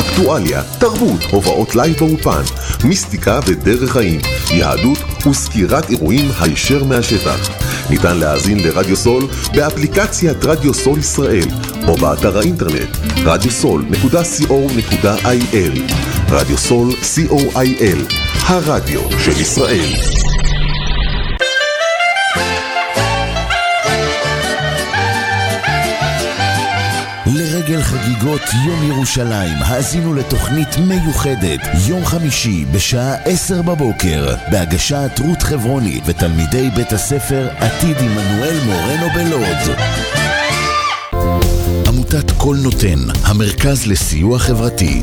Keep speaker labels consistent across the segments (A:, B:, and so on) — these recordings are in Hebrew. A: אקטואליה, תרבות, הובאות לייב באולפן, מיסטיקה ודרך חיים, יהדות וסקירת אירועים הישר מהשטח. ניתן להאזין לרדיו סול באפליקציית רדיו סול ישראל, או באתר האינטרנט radiosol.co.il רדיו סול, co.il, הרדיו של ישראל.
B: לרגל חגיגות יום ירושלים, האזינו לתוכנית מיוחדת, יום חמישי בשעה עשר בבוקר, בהגשת רות חברוני ותלמידי בית הספר עתיד עמנואל מורנו בלוד. עמותת קול נותן, המרכז לסיוע חברתי.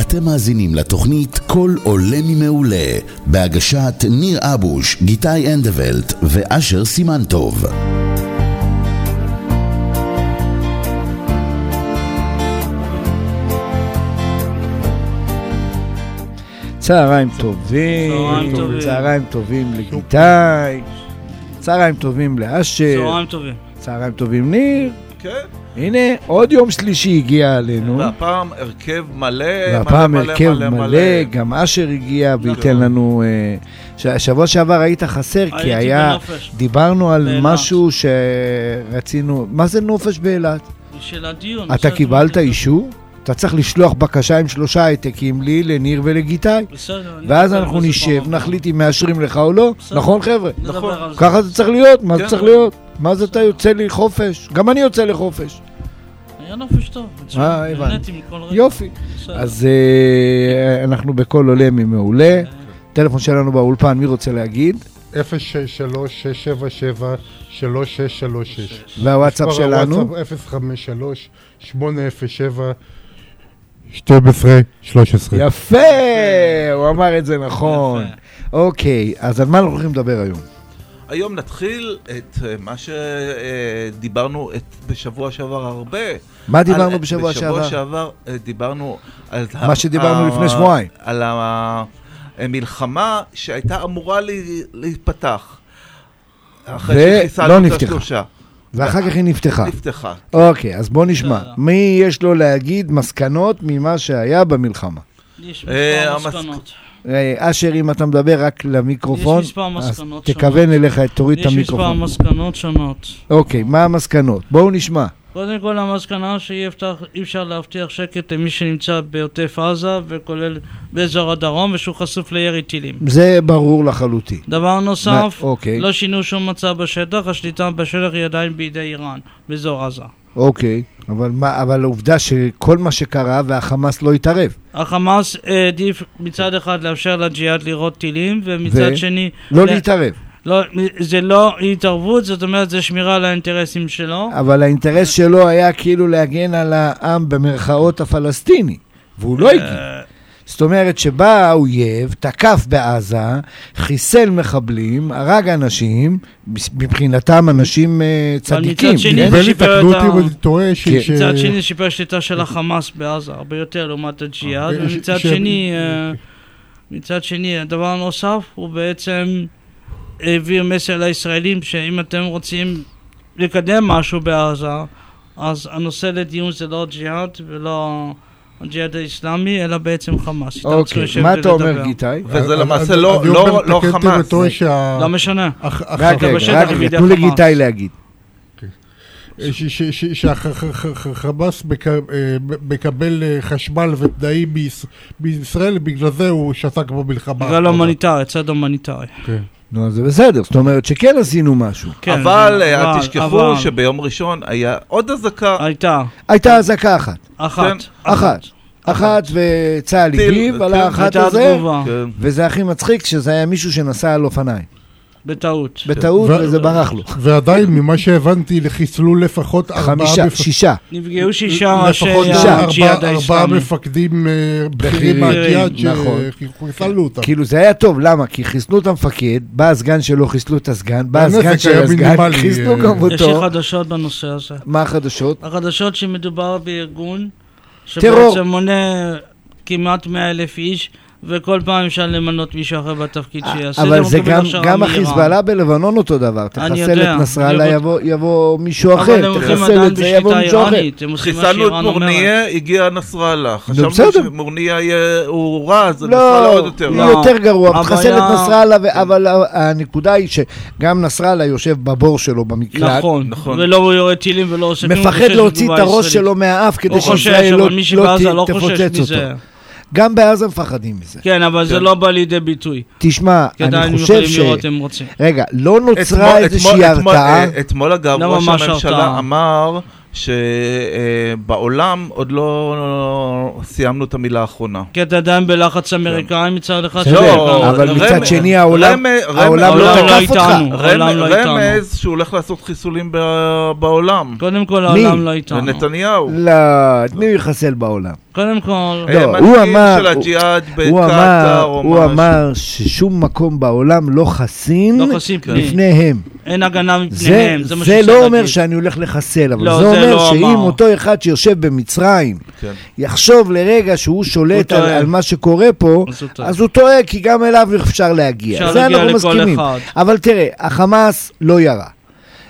B: אתם מאזינים לתוכנית "קול עולה ממעולה" בהגשת ניר אבוש, גיתי אנדוולט ואשר סימנטוב.
C: צהריים טובים,
D: צהריים טובים.
C: צהריים טובים לגיטאי, צהריים טובים לאשר,
D: צהריים טובים.
C: צהריים טובים ניר.
E: כן,
C: הנה, עוד יום שלישי הגיע עלינו,
E: והפעם הרכב מלא, נכון.
C: והפעם הרכב מלא, גם אשר הגיע וייתן לנו... אה, ש- שבוע שעבר היית חסר, כי
D: הייתי
C: היה...
D: בנופש
C: דיברנו על
D: באילת.
C: משהו שרצינו... מה זה נופש באילת?
D: של הדיון.
C: אתה
D: בסדר,
C: קיבלת
D: בסדר.
C: אישור? אתה צריך לשלוח בקשה עם שלושה העתקים לי, לניר ולגיטאי.
D: בסדר. אני
C: ואז
D: אטפל
C: אנחנו
D: בזה
C: נשב,
D: פעם הבאה.
C: נחליט אם מאשרים לך או לא,
D: בסדר.
C: נכון חבר'ה?
D: נדבר
E: נכון.
D: על זה.
C: ככה זה צריך להיות, מה זה
E: כן.
C: צריך להיות? מה זה אתה יוצא לי חופש? גם אני יוצא לחופש.
D: היה נופש טוב. מצוין.
C: אה, הבנתי.
D: נהניתי מכל רגע.
C: יופי.
D: בסדר.
C: אז אה, אנחנו בקול עולה ממעולה.
D: כן.
C: טלפון שלנו באולפן, מי רוצה להגיד?
F: 063-677-3636.
C: והוואטסאפ שלנו?
F: 053-807-1213.
C: יפה, הוא אמר את זה נכון.
D: יפה.
C: אוקיי, אז על מה אנחנו הולכים לדבר היום?
E: היום נתחיל את אה, מה שדיברנו אה, בשבוע שעבר הרבה.
C: מה
E: על-
C: דיברנו בשבוע
E: בשבוע
C: שעבר?
E: שעבר אה, דיברנו על...
C: מה שדיברנו
E: ה-
C: לפני שבועיים.
E: על המלחמה שהייתה אמורה ל- להיפתח. אחרי
C: ולא
E: שחיסלנו את
C: לא נפתחה.
E: השלושה.
C: ואחר כך היא נפתחה.
E: נפתחה.
C: אוקיי, אז בוא נשמע.
D: בסדר.
C: מי יש לו להגיד מסקנות ממה שהיה במלחמה?
D: יש
E: אה,
D: מספר
E: המס-
D: מסקנות.
C: אה, אשר, אם אתה מדבר רק למיקרופון,
D: יש מספר
C: אז
D: מסקנות שונות.
C: תכוון אליך, תוריד את
D: יש מספר
C: המיקרופון.
D: מסקנות שונות.
C: אוקיי, מה המסקנות? בואו נשמע.
D: קודם כל המסקנה שאי אפתח- אי אפשר להבטיח שקט למי שנמצא בעוטף עזה וכולל באזור הדרום ושהוא חשוף לירי טילים.
C: זה ברור לחלוטין.
D: דבר נוסף,
C: מה- אוקיי.
D: לא שינו שום מצב בשטח, השליטה בשטח היא עדיין בידי איראן, באזור עזה.
C: אוקיי, אבל מה, אבל העובדה שכל מה שקרה והחמאס לא התערב.
D: החמאס אה, העדיף מצד אחד לאפשר לג'יהאד לירות טילים, ומצד
C: ו-
D: שני...
C: לא
D: ל-
C: להתערב.
D: לא, זה לא התערבות, זאת אומרת, זה שמירה על האינטרסים שלו.
C: אבל האינטרס שלו היה כאילו להגן על העם במרכאות הפלסטיני, והוא לא הגיע. זאת אומרת שבא האויב, תקף בעזה, חיסל מחבלים, הרג אנשים, מבחינתם אנשים אה, צדיקים.
D: מצד שני-
C: כן?
F: נדמה לי,
D: שיפר
F: תקנו
D: את
F: אותי
D: ה-
F: אם אני טועה, ש...
C: כן.
F: ש-
D: מצד שני שיפר שליטה של החמאס בעזה, הרבה יותר לעומת הג'יהאד,
F: הרבה- ש-
D: ומצד
F: ש-
D: שני, אה, מצד שני, הדבר הנוסף הוא בעצם העביר מסר לישראלים שאם אתם רוצים לקדם משהו בעזה, אז הנושא לדיון זה לא ג'יהאד ולא הג'יהאד האיסלאמי, אלא בעצם חמאס. איתם צריך
C: אוקיי,
D: לשבת
C: מה אתה אומר,
D: ולדבר.
C: גיתי?
E: וזה
F: אני-
E: למעשה
F: אני-
E: לא-
F: אה, אני
E: לא-
F: אומר,
E: לא
F: תקן אותי אם אני
E: חמאס.
F: טועה שה-
D: לא משנה.
F: הח-
C: רק
F: הח-
C: רגע,
D: בשטח
C: רק
D: בידי
C: רגע, תנו
D: החמאס.
C: לגיתי להגיד.
F: ש- ש- ש- שהחמאס מק- אה, מקבל אה, חשמל ותנאים מיש- מישראל, בגלל זה הוא שתק במלחמה.
D: בגלל לא הומניטרי, צד הומניטרי.
C: נו, אז זה בסדר, זאת אומרת שכן עשינו משהו.
D: כן,
E: אבל אה, אל
D: אבל-
E: תשכחו
D: אבל
E: שביום ראשון היה עוד אזעקה, כן.
D: הייתה,
C: הייתה אזעקה אחת.
D: אחת.
C: אחת. אחת וצה"ל
E: טיל,
C: הגיב על
E: כן,
C: האחת
D: הייתה
C: הזה,
D: תגובה,
E: כן,
C: וזה הכי מצחיק שזה היה מישהו שנסע על אופניים.
D: בטעות.
C: בטעות,
F: ו-
C: וזה ברח לו.
F: ועדיין, ממה שהבנתי, חיסלו לפחות ארבעה
C: חמישה,
F: מפ-
C: שישה.
D: נפגעו שישה ראשי
F: לפחות
C: שישה.
F: ארבעה-
D: הג'יהאד
F: ארבעה
D: האיסלאמי.
F: מפקדים אה,
C: בכירים,
F: בכירים מהג'יהאד
C: נכון.
F: שחיסלנו אותם.
C: כאילו זה היה טוב, למה? כי חיסלו את המפקד, בא הסגן שלו, חיסלו את הסגן, בא
F: הנזק
C: הסגן של
F: היה
C: הסגן,
F: מינימלי,
C: חיסלו
F: אה,
C: גם
D: יש לי
C: אותו.
D: חדשות בנושא הזה.
C: מה החדשות?
D: החדשות שמדובר בארגון
C: טרור.
D: שבעצם מונה כמעט 100 אלף איש, וכל פעם אפשר למנות מישהו אחר בתפקיד שיעשה.
C: אה, אבל
D: הוא
C: זה
D: מקבל
C: גם,
D: הכשרה
C: גם
D: מאיראן.
C: החיזבאללה בלבנון אותו דבר. תחסל
D: יודע,
C: את נסראללה,
D: בדיוק.
C: יבוא, יבוא מישהו
D: אבל הם
C: אחר,
D: הולכים
C: תחסל
D: עדיין
C: את זה, יבוא
D: בשליטה
C: מישהו אחר.
D: איראנית. הם עושים מה
E: חיסלנו את
D: שאיראן אומרת.
E: מורניה, הגיע נסראללה. חשבנו
C: בסדר.
E: שמורניה יהיה- הוא רע, אז נסראללה
C: לא,
E: עוד יותר כן.
C: הוא
E: רע.
D: לא.
C: יותר גרוע,
D: אבל
C: מחסל את
D: היה-
C: נסראללה, ו- אבל ה- הנקודה היא שגם נסראללה יושב בבור שלו במקלט,
D: נכון,
E: נכון.
D: ולא הוא יורה טילים ולא עושה כלום. הוא
C: מפחד
D: חושש
C: להוציא את
D: מתגובה
C: הראש
D: ישראלית.
C: שלו מהאף כדי
D: הוא
C: שישראל
D: חושש,
C: לא
D: אבל מי
C: לא
D: שבעזה לא
C: ת-
D: חושש
C: תפוצץ אותו.
D: מזה.
C: גם בעזה מפחדים מזה.
D: כן, אבל זה לא בא לידי ביטוי.
C: תשמע,
D: כי עדיין
C: אני
D: הם
C: חושב
D: יכולים
C: ש...
D: לראות אם רוצים.
C: רגע, לא נוצרה
E: אתמול-
C: איזושהי
E: אתמול- אתמול-
C: הרתעה.
E: אה, אתמול אגב,
D: לא
E: ראש
D: ממש
E: הממשלה
D: הרתעה.
E: אמר שבעולם עוד לא סיימנו את המילה האחרונה.
D: כי אתה עדיין בלחץ אמריקאי מצד אחד.
C: כן. בסדר,
D: שבא-
C: אבל
D: לא,
C: מצד
E: רמז-
C: שני העולם-
E: רמז- רמז-
C: העולם לא
D: העולם לא
C: תקף אותך.
D: איתנו. העולם לא
E: רמז-
D: איתנו.
E: רמז שהוא הולך לעשות חיסולים ב- בעולם.
D: קודם כל
C: מי?
D: העולם לא איתנו.
E: ונתניהו.
C: לא, את מי הוא יחסל בעולם?
D: קודם כל,
C: לא,
E: הם
C: הוא
E: מנהיגים
C: אמר-
E: אה, של הג'יהאד
C: הוא
E: בקטאר
C: אמר,
E: או
C: הוא
E: משהו.
C: אמר ששום מקום בעולם לא חסין
D: לא חסין
C: כן.
D: פני.
C: לפניהם.
D: אין הגנה
C: זה,
D: מפניהם, זה מה
C: זה
D: שצריך
C: לא אומר
D: להגיד.
C: שאני הולך לחסל, אבל
D: לא,
C: זה
D: זה
C: אומר
D: לא
C: שאם
D: אמר.
C: אותו אחד שיושב במצרים
E: כן.
C: יחשוב לרגע שהוא שולט
D: הוא
C: על,
D: טועה.
C: על מה שקורה פה,
D: אז הוא טועה.
C: אז הוא טועה, כי גם אליו אפשר להגיע.
D: אפשר
C: זה
D: להגיע
C: אנחנו
D: לכל
C: מסכימים.
D: אחד.
C: אבל תראה, החמאס לא ירה.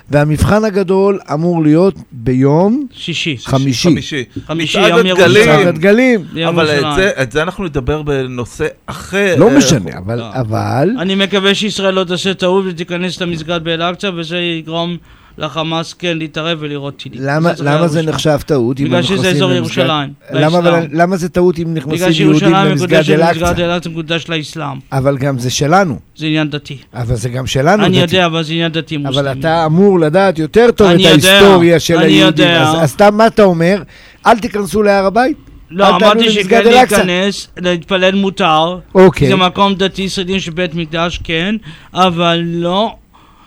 C: והמבחן הגדול אמור להיות ביום
D: שישי.
C: חמישי.
E: חמישי.
D: חמישי,
E: מצעד
D: יום
E: הדגלים.
D: ירושלים.
C: מצעד הדגלים.
D: ביום
E: אבל את
D: ירושלים.
E: זה- את זה אנחנו נדבר בנושא אחר.
C: לא
E: אה,
C: משנה, אבל...
D: לא.
C: אבל...
D: אני מקווה שישראל לא תעשה טעות ותיכנס למסגד באל-אקצא, וזה יגרום לחמאס כן להתערב ולראות טילים.
C: למה,
D: זה צריך
C: למה
D: היה
C: זה
D: ראשון.
C: נחשב טעות אם
D: בגלל
C: אנחנו
D: שזה
C: נכנסים
D: אזור
C: למסגד?
D: ירושלים,
C: למה, אבל-
D: באסלאם.
C: למה זה טעות אם נכנסים
D: בגלל
C: יהודים
D: שירושלים
C: למסגד
D: מקודשת
C: אל-אקצא?
D: למסגד אל-אקצא מקודש לאסלאם.
C: אבל גם זה שלנו,
D: זה עניין דתי.
C: אבל זה גם שלנו.
D: אני
C: דתי.
D: יודע, אבל זה עניין דתי מוסלמי.
C: אבל אתה אמור לדעת יותר טוב את
D: אני יודע,
C: ההיסטוריה של
D: אני
C: היהודים.
D: יודע.
C: אז אז סתם מה אתה אומר? אל תיכנסו להר הבית?
D: לא,
C: אל תעלו
D: אמרתי
C: למסגד
D: שכן
C: אל-אקצא.
D: להיכנס, להתפלל מותר.
C: אוקיי.
D: זה מקום דתי ישראלי של בית מקדש, כן, אבל לא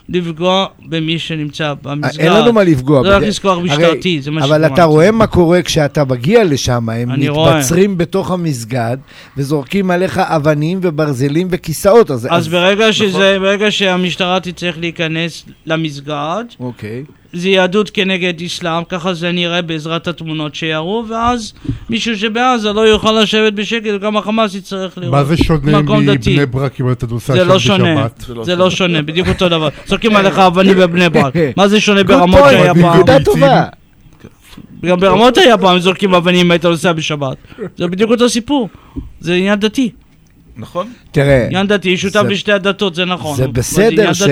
D: לפגוע במי שנמצא במסגד.
C: אה, אין לנו מה לפגוע
D: זה רק לזכור לא משטרתי, זה מה
C: אבל אתה
D: שהתכוונתי.
C: רואה מה קורה כשאתה מגיע לשם, הם
D: אני רואה.
C: מתבצרים בתוך המסגד וזורקים עליך אבנים וברזלים וכיסאות. אז... נכון.
D: אז ברגע שזה, ברגע שהמשטרה תצטרך להיכנס למסגד,
C: אוקיי.
D: זה יהדות כנגד אסלאם, ככה זה נראה בעזרת התמונות שיראו, ואז מישהו שבעזה לא יוכל לשבת בשקט, וגם החמאס יצטרך לראות.
F: מה זה שונה
D: מקום דתי.
F: מבני ברק אם אתה נוסע
D: זה
F: שם
D: לא שונה,
F: בשבת?
D: זה לא שונה, בדיוק אותו דבר. צוחקים עליך אבנים בבני ברק. מה זה שונה ברמות
C: Good point,
D: שהיה פעם?
C: נקודה טובה.
D: גם ברמות היה פעם זורקים אבנים אם היית נוסע בשבת. זה בדיוק אותו סיפור. זה עניין דתי.
E: נכון?
C: תראה,
D: עניין דתי, שותף
C: זה-
D: לשתי הדתות, זה נכון.
C: זה
D: אבל עניין
C: בסדר ש...
D: דתי.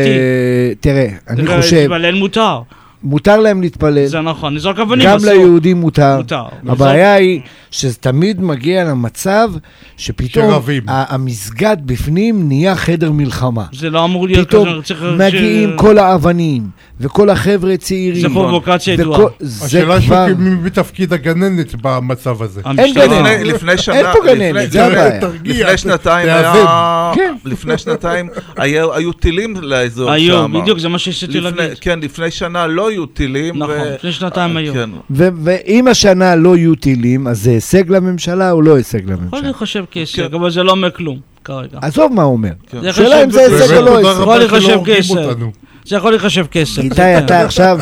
C: תראה, אני
D: זה
C: חושב,
D: להתפלל מותר.
C: מותר להם להתפלל,
D: זה נכון, לזרוק אבנים
C: גם
D: אסור.
C: ליהודים מותר.
D: מותר.
C: הבעיה היא שזה תמיד מגיע למצב שפתאום
F: שרבים.
C: ה- המסגד בפנים נהיה חדר מלחמה.
D: זה לא אמור להיות כזה,
C: פתאום
D: צריך...
C: מגיעים
D: ש-
C: כל האבנים, וכל החבר'ה צעירים.
D: זה פרובוקציה ידועה.
C: וכל- זה
F: השאלה
C: כבר...
F: שלי מי בתפקיד הגננת במצב הזה.
D: המשטרה.
C: גננת.
E: לפני- לפני שנה...
C: אין פה
E: לפני-
C: גננת, זה
E: לפני-
C: הבעיה.
F: תרגיע,
E: לפני שנתיים
F: תאזן.
E: היה...
C: כן.
E: לפני שנתיים היה- היו טילים לאזור שם.
D: היו, בדיוק, זה מה שניסיתי
E: לפני-
D: להגיד.
E: כן, לפני שנה לא יהיו טילים.
D: נכון,
E: ו-
D: לפני שנתיים
E: אה,
D: היו.
E: כן.
C: ו- ואם השנה לא יהיו טילים, אז זה הישג לממשלה או לא הישג
D: יכול
C: לממשלה?
D: לחשב כהישג, אבל זה לא אומר כלום כרגע.
C: עזוב מה הוא אומר.
E: כן.
D: זה
C: השאלה אם זה
D: חשוב
C: הישג או
D: בזה.
C: לא
F: באמת
C: הישג.
F: תודה
D: בוא
F: רבה שלא
D: נחשב
F: הורגים
D: כסף.
F: אותנו.
D: זה יכול לחשב כסף.
C: איתי, אתה עכשיו,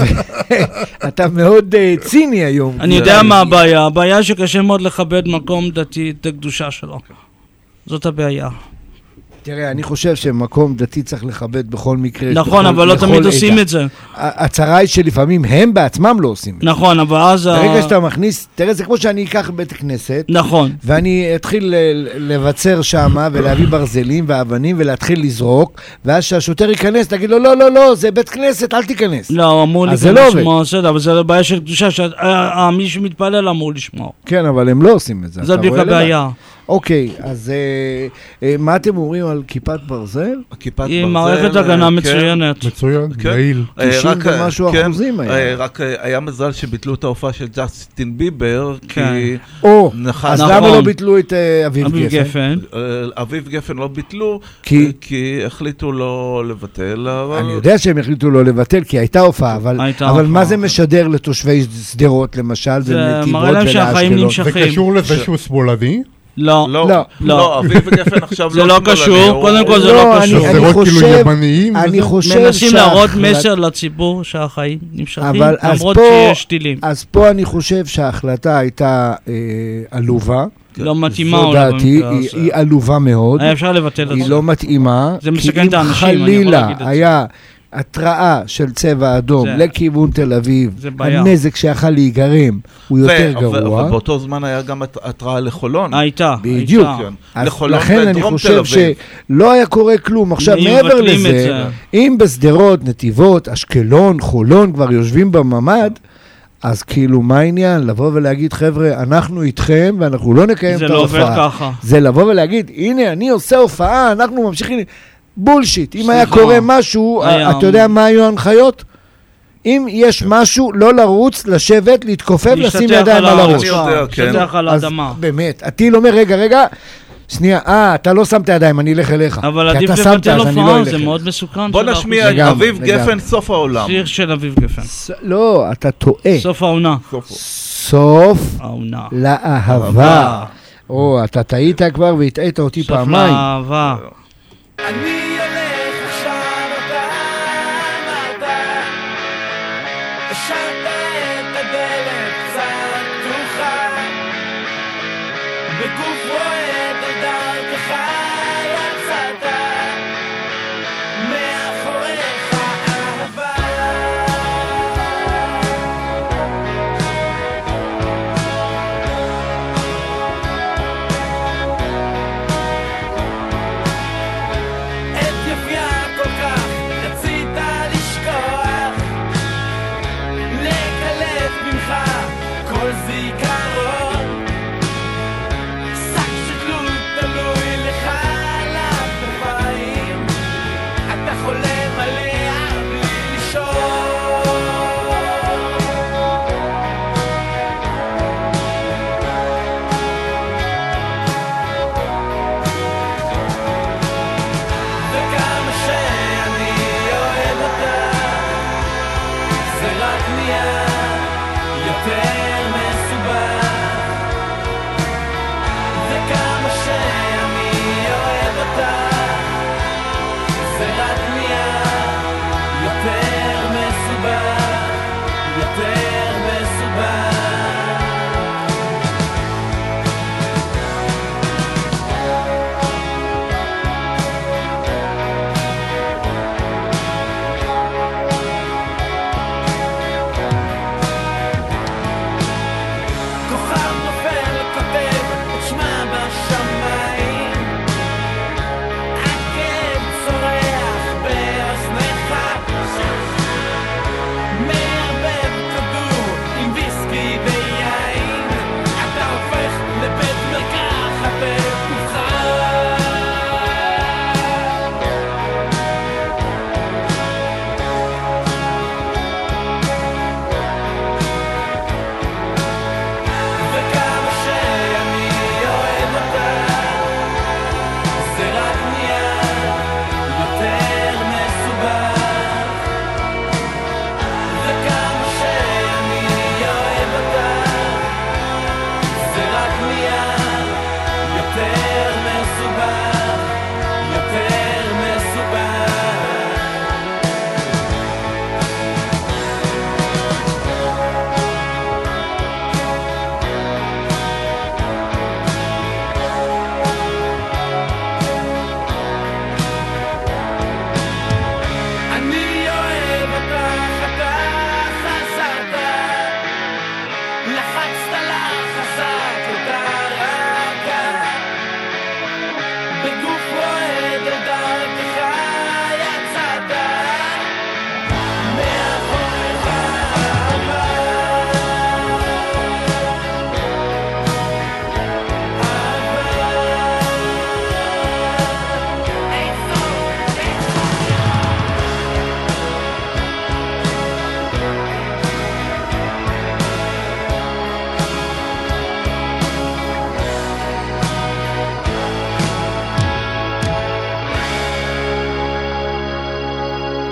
C: אתה מאוד אה, ציני היום. אה,
D: אני יודע מה הבעיה, הבעיה שקשה מאוד לכבד מקום דתי, את הקדושה שלו. זאת הבעיה.
C: אה, תראה, אני חושב שמקום דתי צריך לכבד בכל מקרה.
D: נכון, אבל לא תמיד עושים את זה.
C: הצרה היא שלפעמים הם בעצמם לא עושים את זה.
D: נכון, אבל אז... ה-
C: ברגע שאתה מכניס, תראה, זה כמו שאני אקח בית כנסת,
D: נכון.
C: ואני אתחיל ל- ל- לבצר שמה, ולהביא ברזלים ואבנים, ולהתחיל לזרוק, ואז כשהשוטר ייכנס, תגיד לו, לא, לא, לא, זה בית כנסת, אל תיכנס.
D: לא, הוא אמור
C: אז זה לא
D: להיכנס
C: עובד.
D: לשמוע סדר, אבל זה בעיה של קדושה, שמי שמתפלל אמור לשמוע.
C: כן, אבל הם לא עושים את זה.
D: זאת
C: אתה
D: בדיוק
C: רואה לבד.
D: הבעיה.
C: אוקיי, אז אה, אה, מה אתם אומרים על כיפת ברזל?
E: כיפת ברזל.
D: היא מערכת הגנה
E: אה, כן.
D: מצוינת.
F: מצוין,
E: כן.
F: יעיל.
E: אה,
C: 90
E: רק, אה,
C: ומשהו
E: כן,
C: אחוזים היה.
E: אה, רק אה, היה מזל שביטלו את ההופעה של ג'סטין ביבר,
D: כן.
E: כי
C: או,
E: נכון.
C: אז
D: נכון.
C: למה לא ביטלו את אה,
D: אביב
C: אביב גפן?
D: גפן.
E: אה, אביב גפן לא ביטלו,
C: כי-
E: אה, כי החליטו לא לבטל, אבל...
C: אני יודע שהם החליטו לא לבטל, כי הייתה הופעה, אבל,
D: הייתה
C: אבל
D: הופעה.
C: מה זה משדר לתושבי שדרות, למשל,
D: זה
C: ונתיבות
D: מראה להם שהחיים
C: ולאשקלון?
F: זה
D: נמשכים.
F: קשור לזה שהוא שמאלני?
D: לא.
E: לא,
C: לא.
E: לא, אביב גפן עכשיו
D: זה לא
E: שמאלני,
D: קשור,
E: הוא-
D: קודם כל זה
C: לא,
D: לא
C: אני-
D: קשור.
C: אני
F: גזרות כאילו
C: חושב-
F: ימניים
C: אני
F: וזה?
C: חושב
D: מנסים להראות
C: שההחלט-
D: מסר לציבור שהחיים נמשכים,
C: אבל אז
D: למרות
C: פה-
D: שיש טילים.
C: אז פה אני חושב שההחלטה הייתה אה, עלובה.
D: לא מתאימה
C: זו
D: או לא
C: דעתי,
D: במקרה
C: היא-
D: הזה.
C: היא עלובה מאוד.
D: היה אפשר לבטל את
C: היא
D: זה.
C: לא מתאימה.
D: זה מסכן את האנשים, אני יכול
C: כי אם
D: להגיד את
C: חלילה
D: זה.
C: היה התראה של צבע אדום
D: זה-
C: לכיוון תל אביב,
D: זה בעיה.
C: הנזק שיכל להיגרם הוא
E: ו-
C: יותר
E: אבל- אבל
C: גרוע.
E: באותו זמן היה גם הת- התראה לחולון.
D: הייתה,
C: בדיוק.
D: הייתה.
E: כן.
D: נכון,
C: אז
E: לחולון
C: לכן אני
E: ודרום
C: חושב
E: תל אביב.
C: שלא היה קורה כלום. עכשיו,
D: אם
C: מעבר
D: מבטלים את
C: לזה,
D: זה.
C: אם בשדרות, נתיבות, אשקלון, חולון כבר יושבים בממ"ד, אז כאילו, מה העניין? לבוא ולהגיד, חבר'ה, אנחנו איתכם ואנחנו לא נקיים את
D: זה
C: ההופעה.
D: לא עובר ככה.
C: זה לבוא ולהגיד, הנה, אני עושה הופעה, אנחנו ממשיכים... בולשיט. אם היה
D: סליחה.
C: קורה משהו, אה,
D: היה- אמ- כן.
C: אתה יודע מה היו ההנחיות? אם יש משהו, לא לרוץ, לשבת, להתכופף, לשים
D: להשתטח
C: ידיים על הראש.
E: אני יודע, כן.
D: להשתטח על
C: אז
D: האדמה.
C: באמת, הטיל אומר, רגע, רגע, שנייה, אה, אתה לא שם את הידיים, אני אלך אליך.
D: אבל
C: אה, כי
D: עדיף
C: אתה שמת,
D: לבטל
C: אז אני לא
D: הופעה,
C: אלך
D: זה
C: אליך.
D: מאוד מסוכן.
E: בוא
D: של
E: נשמיע
D: האוכלוסייה.
E: את
C: לגמרי,
E: אביב גפן,
C: לגמרי.
E: סוף העולם.
D: שיר של אביב גפן.
C: ס- לא, אתה טועה.
D: סוף העונה.
C: סוף
D: העונה.
C: לאהבה. או, אתה טעית כבר והטעית אותי
D: סוף
C: פעמיים.
D: לאהבה.
G: אני הולך עכשיו אתה אמרת השארת את הדלת קצת פתוחה בגוף רועד לדרכך יצאת מאחוריך אהבה את יופייה כל כך רצית לשכוח לקלט ממך כל זיכרון שק שתלות תלוי לך על הכתפיים אתה חולם עליה בלי לישון וכמה שאני אוהב אותה זה רק נהיה יותר מסובך וכמה שאני אוהב אותה זה רק נהיה יותר מסובך יותר מסובך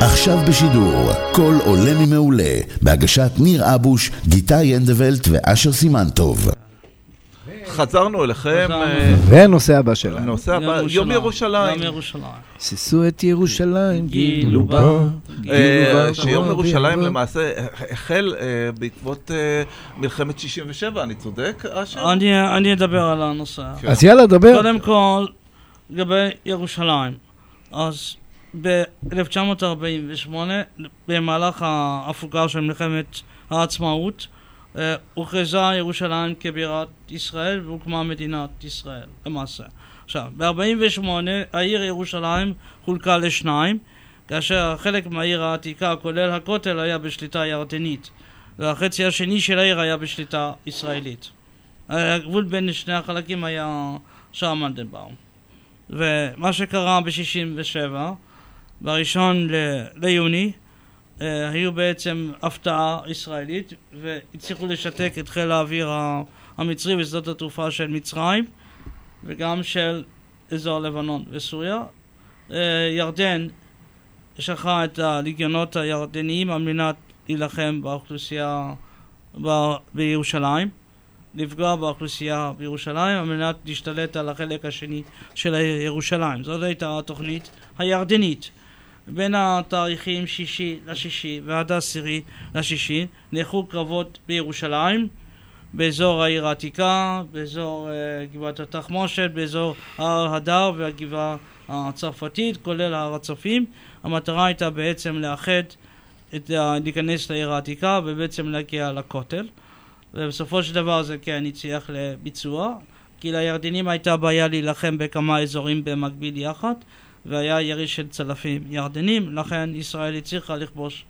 B: עכשיו בשידור, קול עולה ממעולה, בהגשת ניר אבוש, גיטה ינדבלט ואשר סימנטוב.
E: חזרנו אליכם.
C: והנושא הבא שלנו.
E: נוסע יום ירושלים.
D: יום ירושלים.
C: שישו את ירושלים,
D: גילו בה.
E: אה,
C: גילו בה,
E: שיום
C: גילו בה,
E: ירושלים
C: גילו בה.
E: למעשה החל אה, בעקבות אה, מלחמת 67, אני צודק, אשר?
D: אני- אה, אני אדבר על הנושא.
C: אז יאללה, דבר.
D: קודם כל, לגבי ירושלים. אז ב-1948, במהלך ההפוגה של מלחמת העצמאות, אה, הוכרזה ירושלים כבירת ישראל והוקמה מדינת ישראל, למעשה. עכשיו, ב-48 העיר ירושלים חולקה לשניים, כאשר חלק מהעיר העתיקה, כולל הכותל, היה בשליטה ירדנית, והחצי השני של העיר היה בשליטה ישראלית. הגבול בין שני החלקים היה שער מנדלבאום. ומה שקרה ב-67, בראשון ל- ליוני, אה, היו בעצם הפתעה ישראלית, והצליחו לשתק את חיל האוויר ה- המצרי ושדות התעופה של מצרים, וגם של אזור לבנון וסוריה. אה, ירדן שלחה את הלגיונות הירדניים על מנת להילחם באוכלוסייה ב- בירושלים. לפגוע באוכלוסייה בירושלים על מנת להשתלט על החלק השני של העיר ירושלים. זאת הייתה התוכנית הירדנית. בין התאריכים שישי לשישי ועד העשירי לשישי נערכו קרבות בירושלים, באזור העיר העתיקה, באזור אה, גבעת התחמושת, באזור הר הדר והגבעה הצרפתית, כולל הר הצופים. המטרה הייתה בעצם לאחד, את, ה- להיכנס לעיר העתיקה ובעצם להגיע לכותל. ובסופו של דבר זה כן הצליח לביצוע, כי לירדנים הייתה בעיה להילחם בכמה אזורים במקביל יחד, והיה ירי של צלפים ירדנים, לכן ישראל הצליחה לכבוש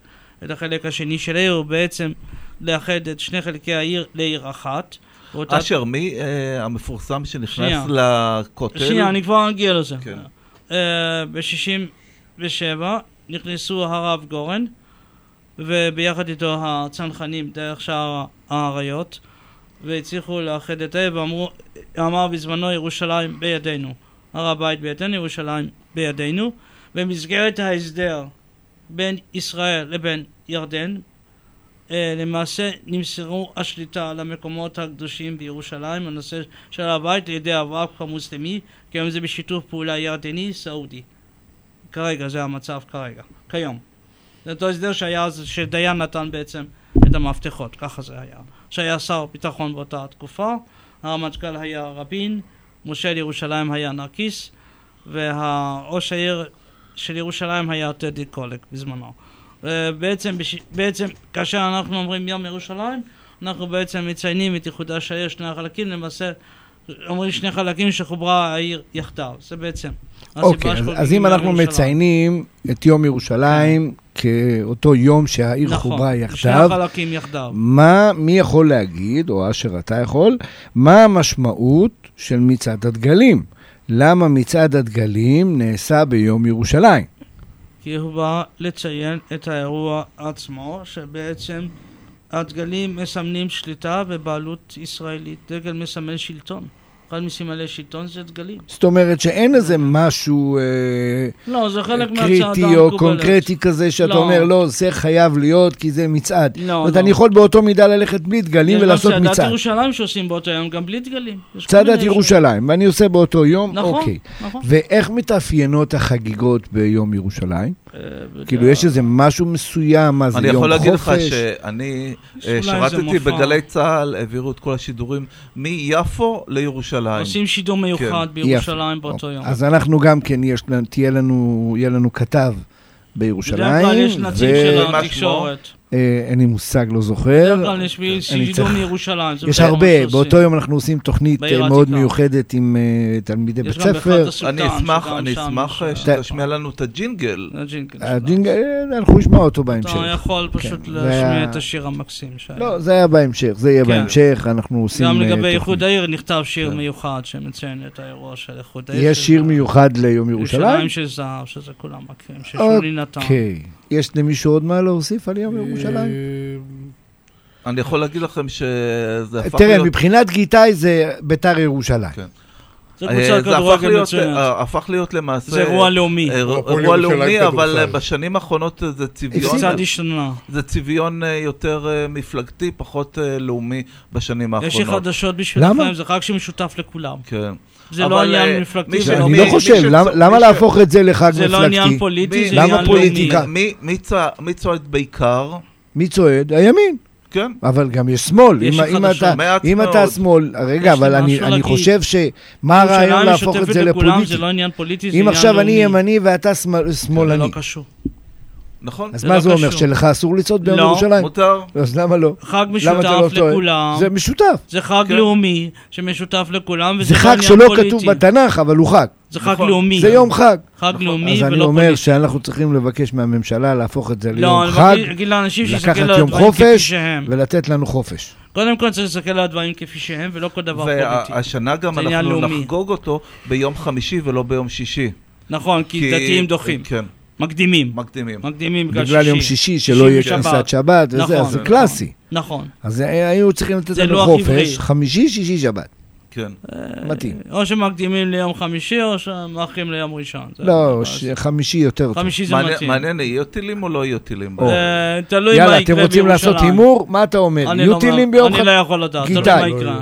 D: את החלק השני של העיר, ובעצם לאחד את שני חלקי העיר לעיר אחת. ואותה-
E: אשר, מי אה, המפורסם שנכנס
D: שנייה.
E: לכותל?
D: שנייה, אני כבר אגיע לזה. אה,
E: כן.
D: ב-67 נכנסו הרב גורן, וביחד איתו הצנחנים דרך שער האריות, והצליחו לאחד את העיר, ואמרו, אמר בזמנו ירושלים בידינו. הר הבית בידינו, ירושלים בידינו. במסגרת ההסדר בין ישראל לבין ירדן, אה, למעשה נמסרו השליטה על המקומות הקדושים בירושלים, הנושא של הר הבית, על ידי הוואקף המוסלמי, כי היום זה בשיתוף פעולה ירדני-סעודי. כרגע, זה המצב כרגע, כיום. זה אותו הסדר שהיה אז, שדיין נתן בעצם את המפתחות, ככה זה היה. שהיה שר ביטחון באותה התקופה, הרמטכ"ל היה רבין, מושל ירושלים היה נרקיס, וראש העיר של ירושלים היה טדי קולק בזמנו. אה, בעצם, בש... בעצם כאשר אנחנו אומרים יום ירושלים, אנחנו בעצם מציינים את איחודה של העיר, שני החלקים, למעשה אומרים שני חלקים שחוברה העיר יחדיו, זה בעצם. הסיבה
C: אוקיי, אז-
D: שחוגגים
C: אז אם
D: יום
C: אנחנו
D: ירושלים. כן.
C: מציינים את יום ירושלים כאותו יום שהעיר חוברה
D: שני
C: יחדיו,
D: החלקים נכון, יחדיו.
C: מה, מי יכול להגיד, או אשר אתה יכול, מה המשמעות של מצעד הדגלים? למה מצעד הדגלים נעשה ביום ירושלים?
D: כי הוא בא לציין את האירוע עצמו, שבעצם הדגלים מסמנים שליטה ובעלות ישראלית. דגל מסמל שלטון. אחד מסמלי שלטון זה דגלים.
C: זאת אומרת שאין איזה משהו אה,
D: לא, זה חלק מהצעדה המקובלת.
C: קריטי או קונקרטי כזה שאתה
D: לא.
C: אומר, לא, זה חייב להיות כי זה מצעד.
D: לא,
C: זאת אומרת,
D: לא.
C: אני יכול באותו מידה ללכת בלי דגלים ולעשות
D: יש גם צעדת
C: מצעד.
D: ירושלים שעושים באותו יום, גם בלי דגלים. יש כל
C: צעדת
D: מיני
C: ירושלים, ואני עושה באותו יום,
D: נכון,
C: אוקיי.
D: נכון.
C: ואיך מתאפיינות החגיגות ביום ירושלים?
D: אה,
C: כאילו, יש איזה משהו מסוים, מה זה
E: אני
C: יום חופש?
E: יכול להגיד לך שאני
D: יש
E: אה,
D: אולי איזה
E: שירתתי
D: מופע.
E: בגלי צה"ל, העבירו את כל השידורים מיפו לירושלים. כן.
D: עושים שידור מיוחד בירושלים באותו יום.
C: אז אנחנו גם כן, יש, לנו- תהיה לנו, יהיה לנו כתב
D: בדרך כלל
C: בירושלים,
D: יש נציג של
E: מה
D: התקשורת.
C: אה, אין לי מושג, לא זוכר.
D: בדרך כלל יש שידור
C: צריך-
D: מירושלים. זה
C: יש
D: בערך מה
C: הרבה,
D: שעושים.
C: באותו יום אנחנו עושים תוכנית
D: בעיר
C: אה, מאוד
D: העתיקה.
C: מיוחדת עם אה, תלמידי
D: יש
C: בית
D: גם באחד
C: ספר.
D: הסולטן,
E: אני אשמח,
D: שגם
E: אני
D: שם
E: אשמח אה,
D: יש-
E: שתשמיע לנו את הג'ינגל.
D: זה הג'ינגל שלנו.
C: הדינג- אה, אנחנו נשמע אותו בהמשך.
D: אתה לא, יכול פשוט
C: כן,
D: להשמיע
C: וה-
D: את השיר המקסים שהיה.
C: לא, זה היה בהמשך, זה יהיה
D: כן.
C: בהמשך, אנחנו עושים...
D: גם
C: אה,
D: לגבי
C: תוכנית. כן.
D: איחוד העיר נכתב שיר מיוחד שמציין את האירוע של איחוד העיר.
C: יש
D: שזה-
C: שיר מיוחד ליום ירושלים?
D: ירושלים של זהב, שזה כולם מכירים, ששולי נתן.
C: אוקיי. יש למישהו עוד מה להוסיף על יום ירושלים?
E: אה, אני יכול להגיד לכם שזה הפך
C: תראה,
E: להיות...
C: מבחינת גיטאי זה ביתר ירושלים. לא
E: כן.
D: זה
E: אה,
D: קבוצת
E: זה הפך
D: כדורגל
E: להיות-
D: מצוינת.
E: אה, הפך להיות למעשה...
D: זה אירוע לאומי.
E: אה, אירוע-
F: הפועל
E: אירוע
F: ירושלים
E: לאומי, אבל אה,
F: כדורסל.
E: בשנים האחרונות אה, זה צביון...
D: קצת השתנה.
E: זה צביון אה, יותר אה, מפלגתי, פחות אה, לאומי בשנים האחרונות.
D: יש לי חדשות בשבילכם,
C: למה?
D: זה חג שמשותף לכולם.
E: כן.
D: זה
E: אבל,
D: לא
E: אה,
D: עניין מפלגתי,
E: מי
D: זה
E: ש-
D: לא-
C: אני
E: מי-
C: לא
E: מי
C: חושב,
E: שצו-
C: למה-
E: מי
C: למה
E: ש-
C: להפוך את זה לחג
D: זה לא עניין
C: מפלגתי?
D: פוליטי, זה
E: למה
D: עניין לאומי.
C: פוליטיקה?
E: מי- מי צוע- מי צועד בעיקר?
C: מי צועד? הימין.
E: כן.
C: אבל גם יש שמאל.
D: יש
C: אם-
D: לי
C: אם
D: חדשות,
C: אתה-
E: מעט
C: אם אתה
E: מאוד.
C: שמאל, רגע,
D: יש לי
C: אבל אני
D: משהו
C: אני
D: להגיד.
C: חושב ש... מה הרעיון
D: ירושלים
C: להפוך את
D: משותפת
C: זה
D: לכולם,
C: לפוליטי?
D: זה לא עניין פוליטי, זה
C: אם
D: עניין
C: עכשיו אני
D: לאומי.
C: ימני ואתה שמאל-
D: זה לא
C: שמאלני,
D: קשור.
E: נכון?
C: אז
D: זה
C: מה
D: לא
C: זה אומר?
D: קשור.
C: שלך אסור לצעוד ביום
D: לא,
C: ירושלים?
E: מותר?
C: אז למה לא?
D: חג
C: למה אתה
D: משותף
C: לא טועה?
D: לכולם.
C: זה משותף.
D: זה חג
E: כן.
D: לאומי שמשותף לכולם, וזה
C: זה
D: לא
C: חג
D: עניין
C: שלא
D: פוליטי.
C: כתוב בתנ"ך, אבל הוא חג.
D: זה חג
E: נכון.
D: לאומי.
C: זה יום חג.
D: חג לאומי
C: אז אני
D: ולא
C: אומר
D: פוליטי.
C: שאנחנו צריכים לבקש מהממשלה להפוך את זה
D: לא,
C: ליום
D: אני
C: חג,
D: מבקש להגיד לאנשים שיסתכל
C: לקחת
D: על
C: יום
D: הדברים כפי
C: חופש
D: שהם.
C: ולתת לנו חופש.
D: קודם כל צריך להסתכל על הדברים כפי שהם, ולא כל דבר פוליטי.
E: והשנה גם
D: זה עניין
E: אנחנו
D: לאומי.
E: נחגוג אותו ביום חמישי ולא ביום שישי.
D: נכון, כי דתיים דוחים.
E: כן,
D: מקדימים.
E: מקדימים.
D: מקדימים
C: בגלל יום שישי שלא יהיה
D: שישי
C: כניסת שבת
D: נכון,
C: וזה, אז זה
D: נכון.
C: קלאסי.
D: נכון.
C: אז אה, היו צריכים לתת
D: זה לא
C: לנו
D: לוח
C: חופש,
D: עברי.
C: חמישי, שישי, שבת. אה,
E: כן.
C: מתאים.
D: או שמקדימים ליום חמישי, או שמאחרים ליום ראשון. זה-
C: לא,
D: אז-
C: ש- חמישי יותר טוב.
D: אה, חמישי זה
E: מעניין-
D: מתאים.
E: מעניין, יהיו טילים או לא יהיו טילים?
C: או.
D: אה, תלוי מה יקרה
C: יאללה,
D: בירושלים.
C: אתם רוצים לעשות הימור? מה אתה אומר?
D: אני לא-
C: יהיו טילים ביום
D: אני
C: חמישי?
D: לא יכול לדעת, תלוי
C: גיטאי.
D: מה יקרה.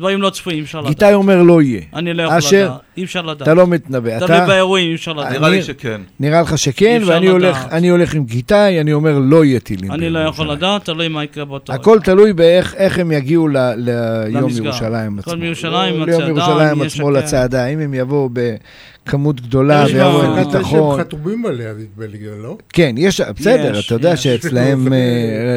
D: דברים לא צפויים, אי אפשר לדעת.
C: גיטאי אומר לא יהיה.
D: אני לא יכול
C: אשר,
D: לדעת. אי אפשר לדעת.
C: אתה לא מתנבא.
D: תלוי
C: אתה,
D: באירועים, אי אפשר לדעת.
E: נראה
C: אני-
E: לי שכן.
C: נראה לך
D: אי
C: שכן,
D: אפשר
C: ואני הולך,
D: לדעת.
C: אני הולך עם גיטאי, אני אומר לא יהיה טילים.
D: אני לא
C: ביום
D: יכול
C: ירושלים.
D: לדעת, תלוי מה יקרה באותו רגע.
C: הכל תלוי באיך איך הם יגיעו ל- ליום
D: למסגד.
C: ירושלים
D: כל
C: עצמו. לא,
D: מירושלים,
C: ליום
D: הצעדה,
C: ירושלים
D: אם יש
C: עצמו
D: הקל.
C: לצעדה. אם הם יבואו בכמות גדולה
D: יש
C: ויבואו
D: גם-
C: עם
F: החלטה שהם
C: ביטחון.
F: חתומים עליה, נדמה לי, לא?
C: כן, יש, בסדר,
D: יש,
C: אתה יודע
D: יש.
C: שאצלהם אה,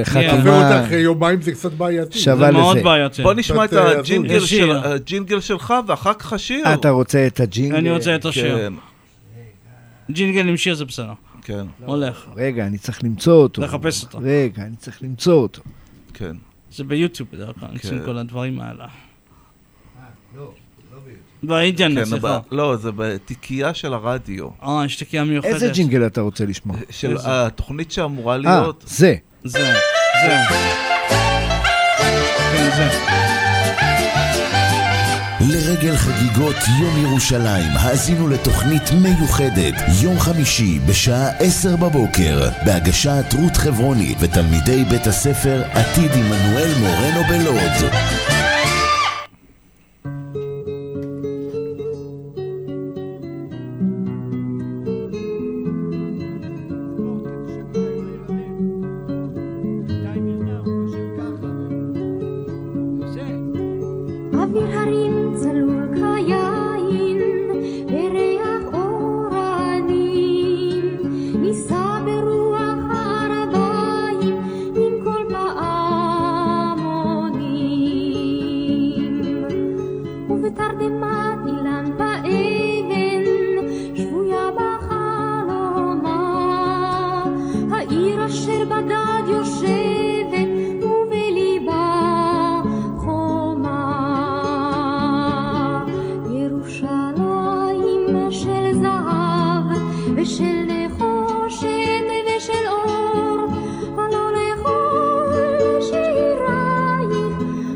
F: עבר
C: חתימה
F: אותה אחרי יומיים זה קצת בעייתי.
C: שווה
D: זה מאוד
C: לזה.
D: בעייתי.
E: בוא נשמע את
F: קצת, אה,
E: הג'ינגל
D: הזוי.
E: של-
D: השיר.
E: הג'ינגל שלך ואחר כך השיר.
C: אתה רוצה את הג'ינגל?
D: אני רוצה את השיר.
E: כן,
D: ג'ינגל עם שיר זה בסדר.
E: כן,
D: הולך.
C: רגע, אני צריך למצוא לא אותו.
D: לחפש אותו.
C: רגע, אני צריך למצוא אותו.
E: כן.
D: זה ביוטיוב בדרך כלל, עושים
E: כן.
D: כל הדברים האלה. באינטרנט,
E: כן,
D: סליחה.
E: אבל- לא, זה בתיקייה של הרדיו.
D: אה, יש תקיעה מיוחדת.
C: איזה ג'ינגל אתה רוצה לשמוע?
E: של
D: איזה?
E: התוכנית שאמורה
C: אה,
E: להיות.
C: זה.
D: זה, זה. כן, זה.
B: לרגל חגיגות יום ירושלים, האזינו לתוכנית מיוחדת, יום חמישי בשעה עשר בבוקר, בהגשת רות חברוני ותלמידי בית הספר עתיד עמנואל מורנו בלוד.
H: אוויר הרים צלול כיין, וריח אור העננים. נישא ברוח הערביים, עם כל פעמונים. ובתרדמת אילן באבן, שבויה בחלומה. העיר אשר בגד יושבת, ובליבה חומה. ירושלים של זהב, ושל נחושת ושל אור, הלא לכל שירייך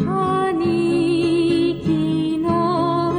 H: אני כינור.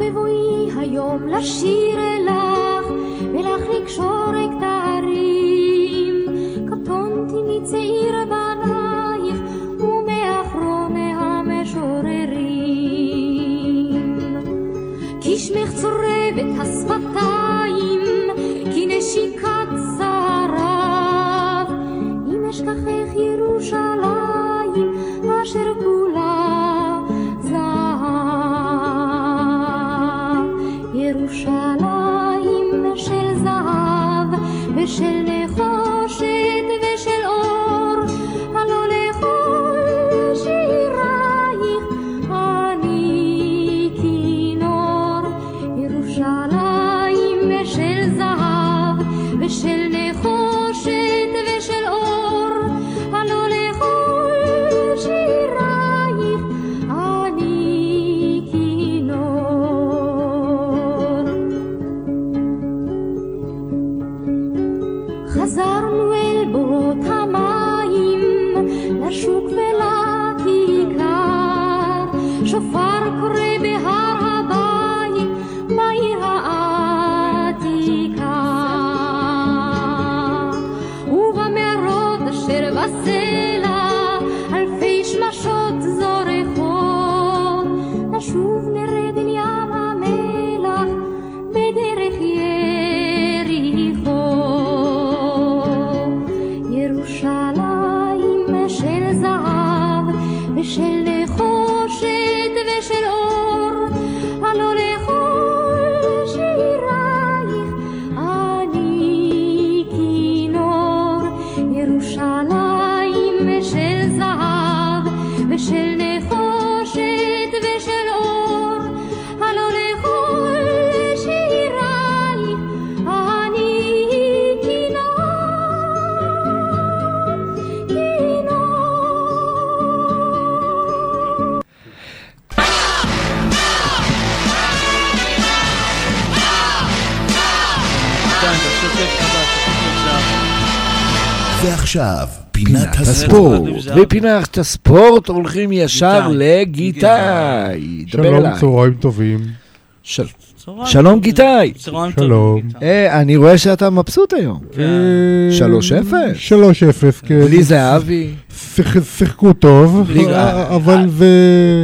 H: בבואי היום לשיר אלך, ולך לקשור את הערים. קטונתי מצעיר בנייך, ומאחרון המשוררים. כי שמך צורבת השפתיים, כי נשיקת שרב. אם אשכחך ירושלים, אשר כולה זהב. ירושלים של זהב, ושל נחושת ושל אור, הלא לכל שירייך אני כינור. ירושלים של זהב, ושל נחושת ושל אור, הלא לכל שירייך אני כינור. חזרנו אל בורות המים, לשוק ולכיכר. שופר קורא בהר הבית, מהי העתיקה. ובמרוד אשר בסלע, אלפי שמשות זורחות. נשוב נרד אל ים המלח, בדרך יריחו. ירושלים של זהב ושל נחושת ושל אור, הלא לכל שירייך אני כינור. ירושלים של זהב ושל נחושת ושל אור, הלא לכל שירייך אני כינור, כינור.
B: ועכשיו, פינת
C: הספורט.
B: הספורט.
C: מפינת הספורט הולכים ישר לגיטאי. דבר
F: שלום,
C: אליי.
F: צהריים טובים.
C: של- שלום גיטאי.
F: צהריים טובים, שלום. גיטאי.
C: אה, אני רואה שאתה מבסוט היום. 3-0.
F: 3-0, כן.
C: בלי זהבי.
F: שיח- שיחקו טוב,
C: ליגה.
F: אבל זה...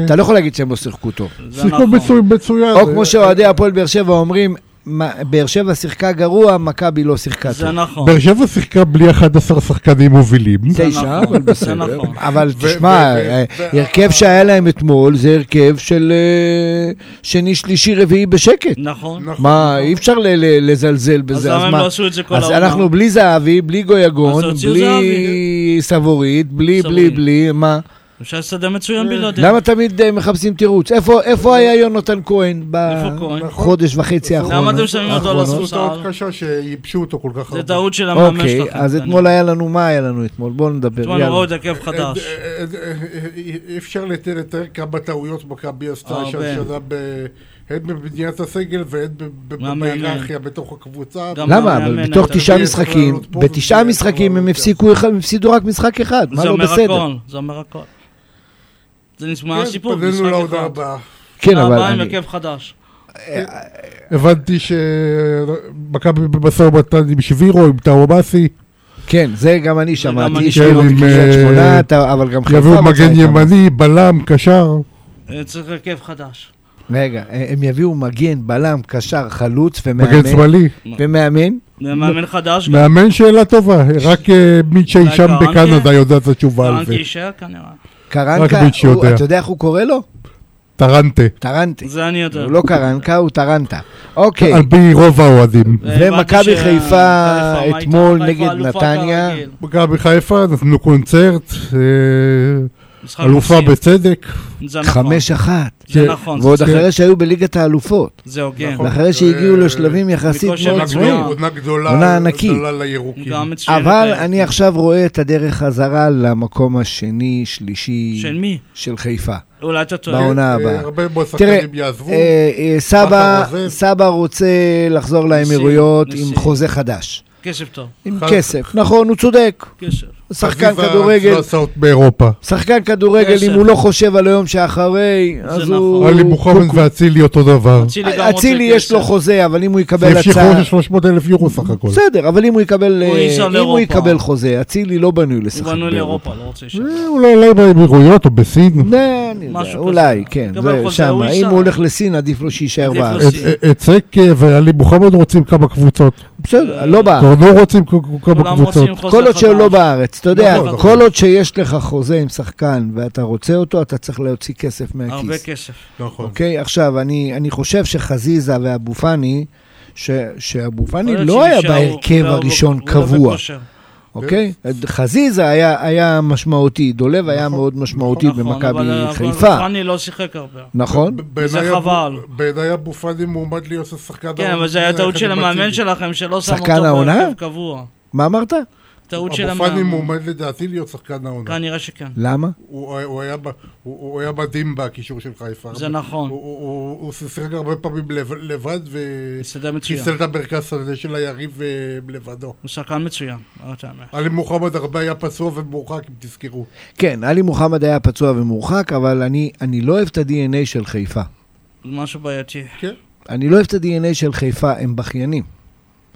C: אתה לא יכול להגיד שהם לא שיחקו טוב.
D: נכון.
F: שיחקו מצו- מצוין.
C: או כמו שאוהדי הפועל באר שבע אומרים, "מה, באר שבע שיחקה גרוע, מכבי לא שיחקה טוב.
D: זה נכון.
F: באר שבע שיחקה בלי 11 שחקנים מובילים.
C: תשע, אבל בסדר.
D: נכון.
C: אבל תשמע, אה, הרכב שהיה להם אתמול זה הרכב של אה, שני, שלישי, רביעי בשקט.
D: נכון.
C: מה, אי אפשר ל- ל- לזלזל בזה,
D: למה
C: אז
D: הם
C: מה?
D: לא עשו את זה כל
C: אז
D: העונה?
C: אנחנו בלי זהבי, בלי
D: אז
C: גויגון,
D: תוציאו
C: בלי סבורית, בלי, בלי,
D: סבורית. לא
C: בלי, מה?
D: אפשר לסדר מצוין בלעדיהם.
C: למה תמיד אה, מחפשים תירוץ? איפה- איפה היה יונתן כהן
D: נכון.
C: בחודש וחצי האחרון?
D: למה אתם שמים אותו על
F: עשו
D: הספסל?
F: טעות קשה שייבשו אותו כל כך הרבה.
D: טעות של המאמן
C: אוקיי,
D: שלכם,
C: אז
D: אני-
C: אתמול היה לנו, מה היה לנו אתמול? בואו נדבר,
D: אתמול לא, ראו
C: יאללה.
D: את הרכב חדש.
F: אה, אה, אה, אי אפשר לתאר לתאר כמה טעויות מכבי עשתה
D: הרבה.
F: שהשנה ב- הן בבניית הסגל והן ב- ב-
D: מהמאמן.
F: בהיררכיה בתוך הקבוצה.
D: לא
C: למה? אבל בתוך תשעה משחקים, בתשעה משחקים הם הפסיקו, אחד- הם הפסידו רק משחק אחד, מה
D: זה
C: לא
D: אומר
C: בסדר?
D: הכל, נכון, זה אומר הכל. זה
F: כן,
D: נשמע סיפור,
F: התפללנו
D: משחק
F: להודעה
D: אחד.
F: הבאה.
C: כן,
D: הבאה
C: אבל
D: עם
C: אני-
D: הרכב חדש.
C: אה,
F: הבנתי שמכבי במשא ומתן עם שבירו, עם טאומאסי.
C: כן, זה גם אני שמעתי,
F: אני
C: שבירו
F: שמעתי.
C: בקריית
F: עם,
C: שמונה,
F: אה,
C: אתה- אבל גם חיפה לא
F: יביאו
C: מצאה
F: מגן
C: את ה-
F: ימני, בלם, קשר.
D: אה, צריך הרכב חדש.
C: רגע, אה, הם יביאו מגן, בלם, קשר, חלוץ ומאמן.
F: מגן שמאלי.
C: ומאמן.
D: ומאמן חדש גם.
F: מאמן שאלה טובה, רק אה, מי שאי
D: אולי
F: שם
D: קרנקה?
F: בקנדה יודע את התשובה על
D: טרנקה
F: זה.
D: יישאר כנראה.
C: קרנקה,
F: רק מי שיודע.
C: הוא- אתה יודע איך הוא קורא לו?
F: טרנטה,
C: טרנטה.
D: זה אני יודע.
C: הוא לא קרנקה, הוא טרנטה. אוקיי.
F: על פי רוב האוהדים.
C: ומכבי
D: אה, ש-
C: חיפה
D: חיפה, מה
C: אתמול
D: איתה? חיפה
C: נגד
D: אלופה
C: נתניה.
D: כרגיל.
F: מכבי חיפה, נתנו קונצרט, אה,
D: משחק
F: אלופה
D: מקסים.
F: בצדק.
D: זה נכון.
C: חמש אחת.
D: זה נכון. כן.
C: ועוד
D: זה-
C: אחרי שהיו בליגת האלופות.
D: זה הוגן.
C: ואחרי שהגיעו לשלבים יחסית
D: מכושר
C: מאוד
D: הגדולה.
C: גבוהים.
F: נכון. עונה גדולה,
C: עונה ענקית.
F: גדולה לירוקים.
D: גם מצוינת.
C: אבל אני עכשיו רואה את הדרך חזרה למקום השני, שלישי.
D: של מי?
C: של חיפה.
D: אולי אתה טועה.
C: בעונה
F: אה,
C: הבאה.
F: הרבה מאוד
C: תראה,
F: שחקנים יעזבו.
C: אה, אה, סבא,
F: בכר עוזב.
C: סבא רוצה לחזור לאמירויות
D: נשיא.
C: עם חוזה חדש.
D: כסף טוב.
C: עם
F: חד-
C: כסף, נכון, הוא צודק.
D: כסף.
C: שחקן
F: אביב
C: כדורגל,
F: ההצלעות באירופה.
C: שחקן כדורגל, אם הוא לא חושב על היום שאחרי, אז
D: נכון.
C: הוא... אה,
F: עלי מוחמד ואצילי אותו דבר.
C: אצילי יש לו חוזה, אבל אם הוא יקבל
F: זה שחרור
C: הצעה...
F: של 300 אלף יורו סך הכל.
C: בסדר, אבל אם הוא יקבל,
D: הוא
C: אה,
D: ייסע
C: אם הוא
D: לאירופה.
C: יקבל חוזה, אצילי לא בנוי לשחק
D: הוא בנוי
C: באירופה.
D: לאירופה, לא רוצה לשם.
F: אה, אולי אולי באמירויות או בסין.
C: לא, אני יודע,
D: משהו
C: אולי, כן,
D: יקבל
C: זה
D: חוזה,
C: שם.
D: הוא
C: אם
D: ייסע.
C: הוא הולך לסין, עדיף לו שיישאר
F: אה,
D: עדיף לו
C: בארץ.
D: ש-
F: את סקה ועלי אה, מוחמד רוצים כמה קבוצות.
C: בסדר,
D: אה,
C: לא בארץ.
F: קורנו רוצים כ- כמה
D: כולם
F: קבוצות.
D: רוצים חוזה
C: כל עוד שהוא
D: חדש.
C: לא בארץ, אתה יודע,
F: נכון, נכון.
C: כל עוד שיש לך חוזה עם שחקן ואתה רוצה אותו, אתה צריך להוציא כסף
D: הרבה
C: מהכיס.
D: כסף.
F: נכון.
C: אוקיי, עכשיו, אני אני חושב שחזיזה ואבו פאני, ש- שאבו פאני
D: יכול להיות
C: לא היה
D: שנשארו-
C: בהרכב
D: והוא-
C: הראשון
D: הוא לא
C: קבוע,
F: כן,
D: בכושר.
C: אוקיי? חזיזה היה- היה משמעותי, דולב היה מאוד משמעותי
D: נכון, אבל-
C: במכבי
D: אבל
C: חיפה,
D: פאני לא שיחק הרבה.
C: נכון?
D: זה חבל.
F: בעיניי אבו פאני מועמד להיות שחקן...
D: כן, אבל זו הייתה טעות של המאמן שלכם, שלא שם
C: שחקן
D: אותו
C: העונה?
D: בהרכב קבוע.
C: מה אמרת?
D: טעות של
F: אבו פאני
D: המאמן.
F: מועמד לדעתי להיות שחקן העונה.
D: כנראה שכן.
C: למה?
F: הוא הוא היה ב- הוא- הוא היה מדהים בקישור של חיפה.
D: זה נכון.
F: הוא- הוא- הוא הוא שיחק הרבה פעמים לב- לבד ו-
D: מסתדר מצוין.
F: חיסל את המרכז הזה של היריב אה, לבדו.
D: הוא שחקן מצוין. לא תאמר.
F: עלי מוחמד הרבה היה פצוע ומורחק, אם תזכרו.
C: כן, עלי מוחמד היה פצוע ומורחק, אבל אני אני לא אוהב את ה-DNA של חיפה.
D: משהו בעייתי.
F: כן,
C: אני לא אוהב את ה-DNA של חיפה, הם בכיינים.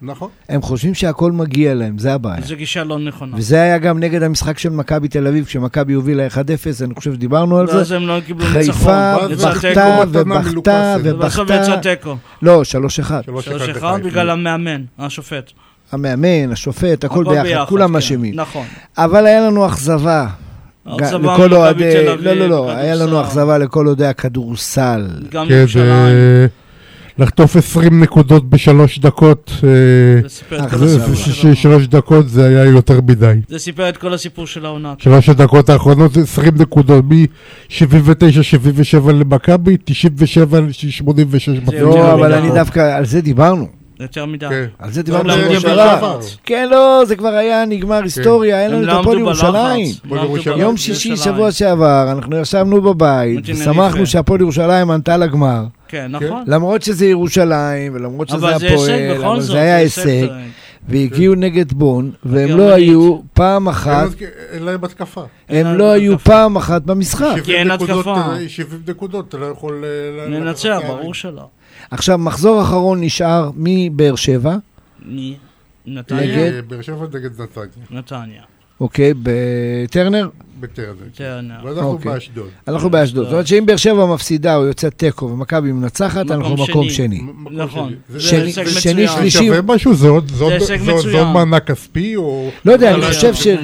F: נכון.
C: הם חושבים שהכל מגיע להם, זה הבעיה.
D: זו גישה לא נכונה.
C: וזה היה גם נגד המשחק של מכבי תל אביב, כשמכבי הובילה 1-0, אני חושב שדיברנו על
D: ואז
C: זה.
D: הם לא קיבלו ניצחון.
C: חיפה
F: ואז
D: יצא
F: בכתה,
D: תיקו.
C: בכתה
F: תיקו מתנה
C: ובכתה
F: מלוקאסן.
D: ובסוף יצא
C: ובכתה.
D: תיקו.
C: לא, 3-1.
F: שלוש אחד
D: 3-1
F: לחיפה.
D: בגלל המאמן, השופט.
C: המאמן, השופט, הכל ביחד, כולם
D: כן.
C: אשמים.
D: נכון.
C: אבל היה לנו אכזבה.
D: אכזבה
C: גם- לכל
D: ממכבי
C: אוהדי...
D: תל אביב,
C: לא, לא, לא,
D: כדורסל.
C: היה לנו אכזבה לכל אוהדי הכדורסל.
D: גם
F: כן,
D: ירושלים.
F: אה, לחטוף 20 נקודות בשלוש דקות, אה,
D: זה סיפר את
C: אה,
D: כל
F: זה-
C: סבבה.
F: זה-
D: הסיפור
F: ש-
D: של
F: ש-
D: העונה.
F: שלוש דקות זה היה יותר מדי.
D: זה סיפר את כל הסיפור של העונה.
F: שלוש הדקות האחרונות זה 20 נקודות, מ-79-77 למכבי, 97-86
D: יותר
C: לא, אבל
D: מדי.
C: אני דווקא, על זה דיברנו.
D: זה יותר מדי.
F: כן.
C: על זה דיברנו
D: לא, לא,
C: בשבוע
D: לא,
C: שעבר.
D: לא, לא.
C: כן, לא, זה כבר היה נגמר היסטוריה, היה
D: הם
C: לנו
D: לא
C: את הפועל
D: עמדו בלחץ.
C: ירושלים.
D: לא עמדו
F: ירושלים.
D: בלחץ.
C: יום שישי
D: ירושלים.
C: שבוע שעבר, אנחנו ישבנו בבית,
D: מג'נריפה.
C: ושמחנו שהפועל ירושלים ענתה לגמר.
D: כן, נכון.
C: למרות שזה ירושלים, ולמרות שזה
D: אבל זה הישג
C: הפועל,
D: בכל
C: אבל
D: זאת.
C: זה היה הישג,
D: טוען.
C: והגיעו נגד בון, והם
D: הגרמנית.
C: לא היו פעם אחת,
F: אין להם התקפה.
C: הם
D: אין
C: לא
D: להם
C: היו
D: התקפה.
C: פעם אחת במשחק.
F: 70
D: אה, אין
F: נקודות,
D: התקפה.
F: אה, 70 נקודות, אתה לא יכול... אה, ל-
D: ננצח,
F: לקחת
D: ברור
F: יערים.
D: שלא.
C: עכשיו, מחזור אחרון נשאר מבאר שבע,
D: מי?
C: נגד?
D: נתניה.
F: אה, באר שבע נגד נתניה,
D: נתניה.
C: אוקיי, בטרנר.
F: בטרנר.
D: טרנר. לא.
F: ואנחנו
C: אוקיי.
F: כן. באשדוד.
C: אנחנו באשדוד. זאת אומרת שאם באר שבע מפסידה או יוצאת תיקו ומכבי מנצחת,
D: מקום
C: אנחנו
D: שני.
C: מקום שני.
F: מ- מקום
D: נכון.
F: שני.
D: זה
C: שני-
D: הישג
C: שני,
D: מצוין.
F: זה
C: שלישי.
F: שווה משהו? זה עוד- זה עוד-
D: הישג
F: זה עוד זה עוד
D: מצוין.
F: מענק כספי או...
C: לא יודע, אני
D: לא,
C: חושב
D: לא,
C: שראשון,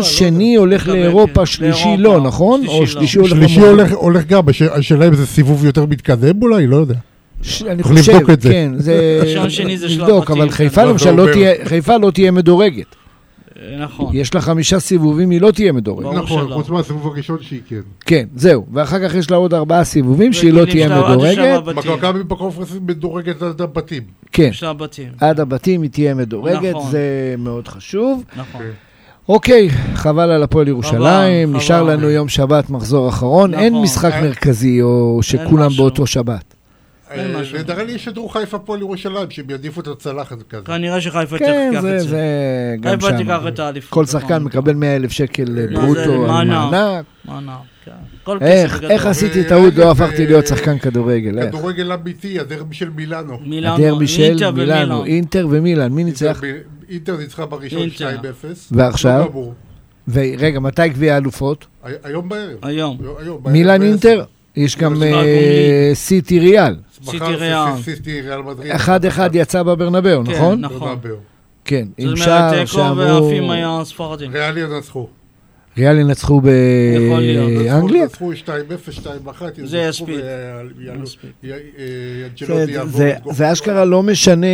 F: באירופה,
C: שני הולך
D: מקבל,
C: לאירופה,
D: כן.
C: שלישי
D: לאירופה.
C: לא, נכון?
D: שלישי
C: או
D: לא.
F: לא
C: שלישי הולך...
F: יודע. שלישי
C: למונדיאל.
F: הולך- הולך גם, הש- השאלה אם זה סיבוב יותר מתקדם אולי? לא יודע.
C: ש- אני
F: צריך
C: חושב,
F: לבדוק את זה.
C: כן, זה...
D: ראשון, שני זה שלב כן.
C: נבדוק, אבל
D: בתים.
C: חיפה
F: לא,
C: למשל
F: זה
C: לא
F: עובר.
C: תהיה- חיפה לא תהיה מדורגת.
D: אה, נכון.
C: יש לה חמישה סיבובים, היא לא תהיה מדורגת.
D: ברור
F: נכון,
D: שלא.
F: חוץ מהסיבוב הראשון שהיא כן.
C: כן, זהו. ואחר כך יש לה עוד ארבעה סיבובים שהיא לא
D: וכאילו
C: תהיה
D: יש לה- עד
C: מדורגת.
D: שלב הבתים.
F: מכבי בקונפרנס מדורגת עד הבתים.
C: כן,
D: שלב הבתים.
C: עד הבתים היא תהיה מדורגת,
D: נכון.
C: זה מאוד חשוב.
D: נכון.
F: כן.
C: אוקיי, חבל על הפועל ירושלים,
D: חבל.
C: נשאר לנו יום שבת, מחזור אחרון.
D: נכון.
C: אין משחק
F: אין-
C: מרכזי או שכולם
D: משהו.
C: באותו שבת.
D: אין
F: אה,
D: משהו.
F: נראה לי ישדרו חיפה הפועל ירושלים, שהם יעדיפו את הצלחת כזה.
D: כנראה שחיפה
C: כן,
D: תיקח
C: זה
D: את זה.
C: זה גם
D: חיפה
C: שם.
D: תיקח את האליפות.
C: כל
D: נכון. אה,
C: שחקן מקבל 100 אלף שקל אה,
D: זה
C: ברוטו לא על
D: מענק.
C: מענק.
D: מענק, כן. כל
C: איך,
D: כסף
C: איך
D: גדול.
C: עשיתי
F: אה,
C: טעות, לא
F: אה,
C: הפכתי
F: אה,
C: להיות שחקן כדורגל, איך?
F: כדורגל אמיתי, הדרבי של מילאנו.
D: מילאנו,
C: הדרבי של
D: אינטר
C: מילאנו,
D: ומילאנו.
C: אינטר ומילאן, מי ניצח?
F: אינטר ניצחה בראשון
D: אינטר.
F: 2-0.
C: ועכשיו?
F: לא גמור.
C: ורגע, מתי גביע האלופות?
F: הי- היום בערב. לא,
D: היום.
F: היום בערב
C: מילאן
F: בעשר.
C: אינטר? יש גם
D: זה
C: אה,
D: הגומלין.
C: סיטי ריאל.
F: מחר
D: סיטי
F: זה
D: ריאל.
F: ס- סיטי ריאל מדריד.
C: 1-1 יצא בברנבאו,
D: כן,
C: נכון?
F: לא
D: נכון.
F: בבאר.
C: כן, עם
D: זאת אומרת,
C: שער
D: תיקו
C: שאמרו...
D: ועפים היה ספרדים.
F: ריאל ינצחו.
C: ריאל ינצחו אה,
D: יכול להיות. נכון.
C: באנגליה?
F: ינצחו 2-0, 2-1.
D: זה
F: ינצחו
D: יספיק.
F: ו- יעלו-
D: יספיק.
F: י- אה,
C: זה-
F: אנג'לוטי יעבור
C: זה-
F: את גול.
C: זה אשכרה לא משנה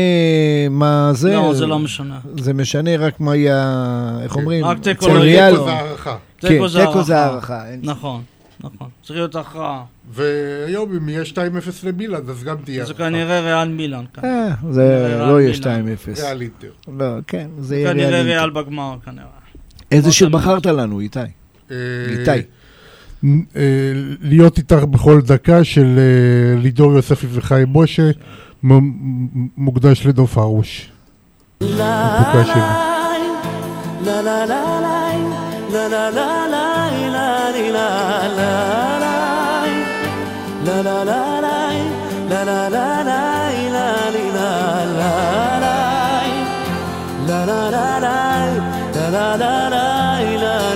C: מה זה.
D: לא, זה לא משנה.
C: זה משנה רק מה יהיה, איך אומרים?
D: רק תיקו
C: אצל
D: לא
C: ריאל.
F: כן. תיקו זה הערכה.
C: כן,
D: תיקו זה
C: תיקו זה
D: הערכה.
C: הערכה. אין-
D: נכון, נכון. צריך להיות הכרעה.
F: והיום אם יהיה 2-0 למילאן, אז גם תהיה
D: זה
F: הערכה.
D: כנראה ריאל מילאן. כאן.
C: אה, זה
D: ריאל
C: לא יהיה
D: מילאן.
C: 2-0.
F: ריאל אינטר.
C: לא, כן, זה יהיה
D: כנראה
C: ריאל.
D: ריאל בגמר כנראה.
C: איזה שיר
D: מאוד
C: בחרת לנו, איתי?
F: אה,
C: איתי.
F: אה, להיות איתך בכל דקה של אה, לידור יוספי וחיים משה, מ- מ- מוקדש לדוב הרוש. הפקה שלי.
I: לה לה לה לה La la la la la li, la la la La la la la La la la la la li, la la la La la la la La la la la la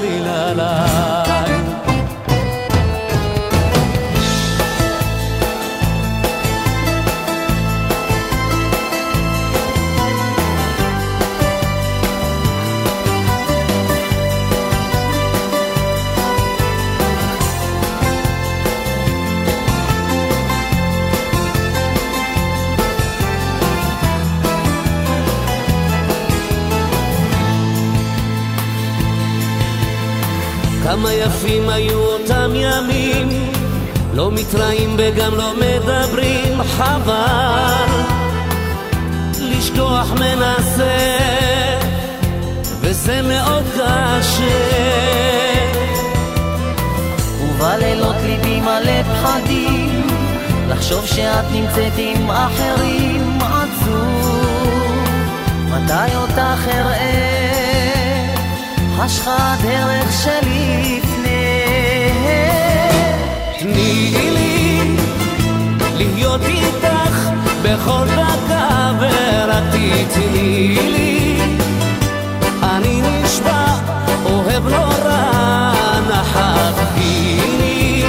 I: li, la la כמה יפים היו אותם ימים, לא מתראים וגם לא מדברים, חבל. לשכוח מנסה, וזה מאוד קשה.
G: ובלילות ליבי מלא פחדים, לחשוב שאת נמצאת עם אחרים עצוב. מתי אותך אראה, חשכה הדרך שלפני.
I: תני לי להיות איתך בכל דקה ורק תתני לי אני נשבע אוהב נורא נחת גילי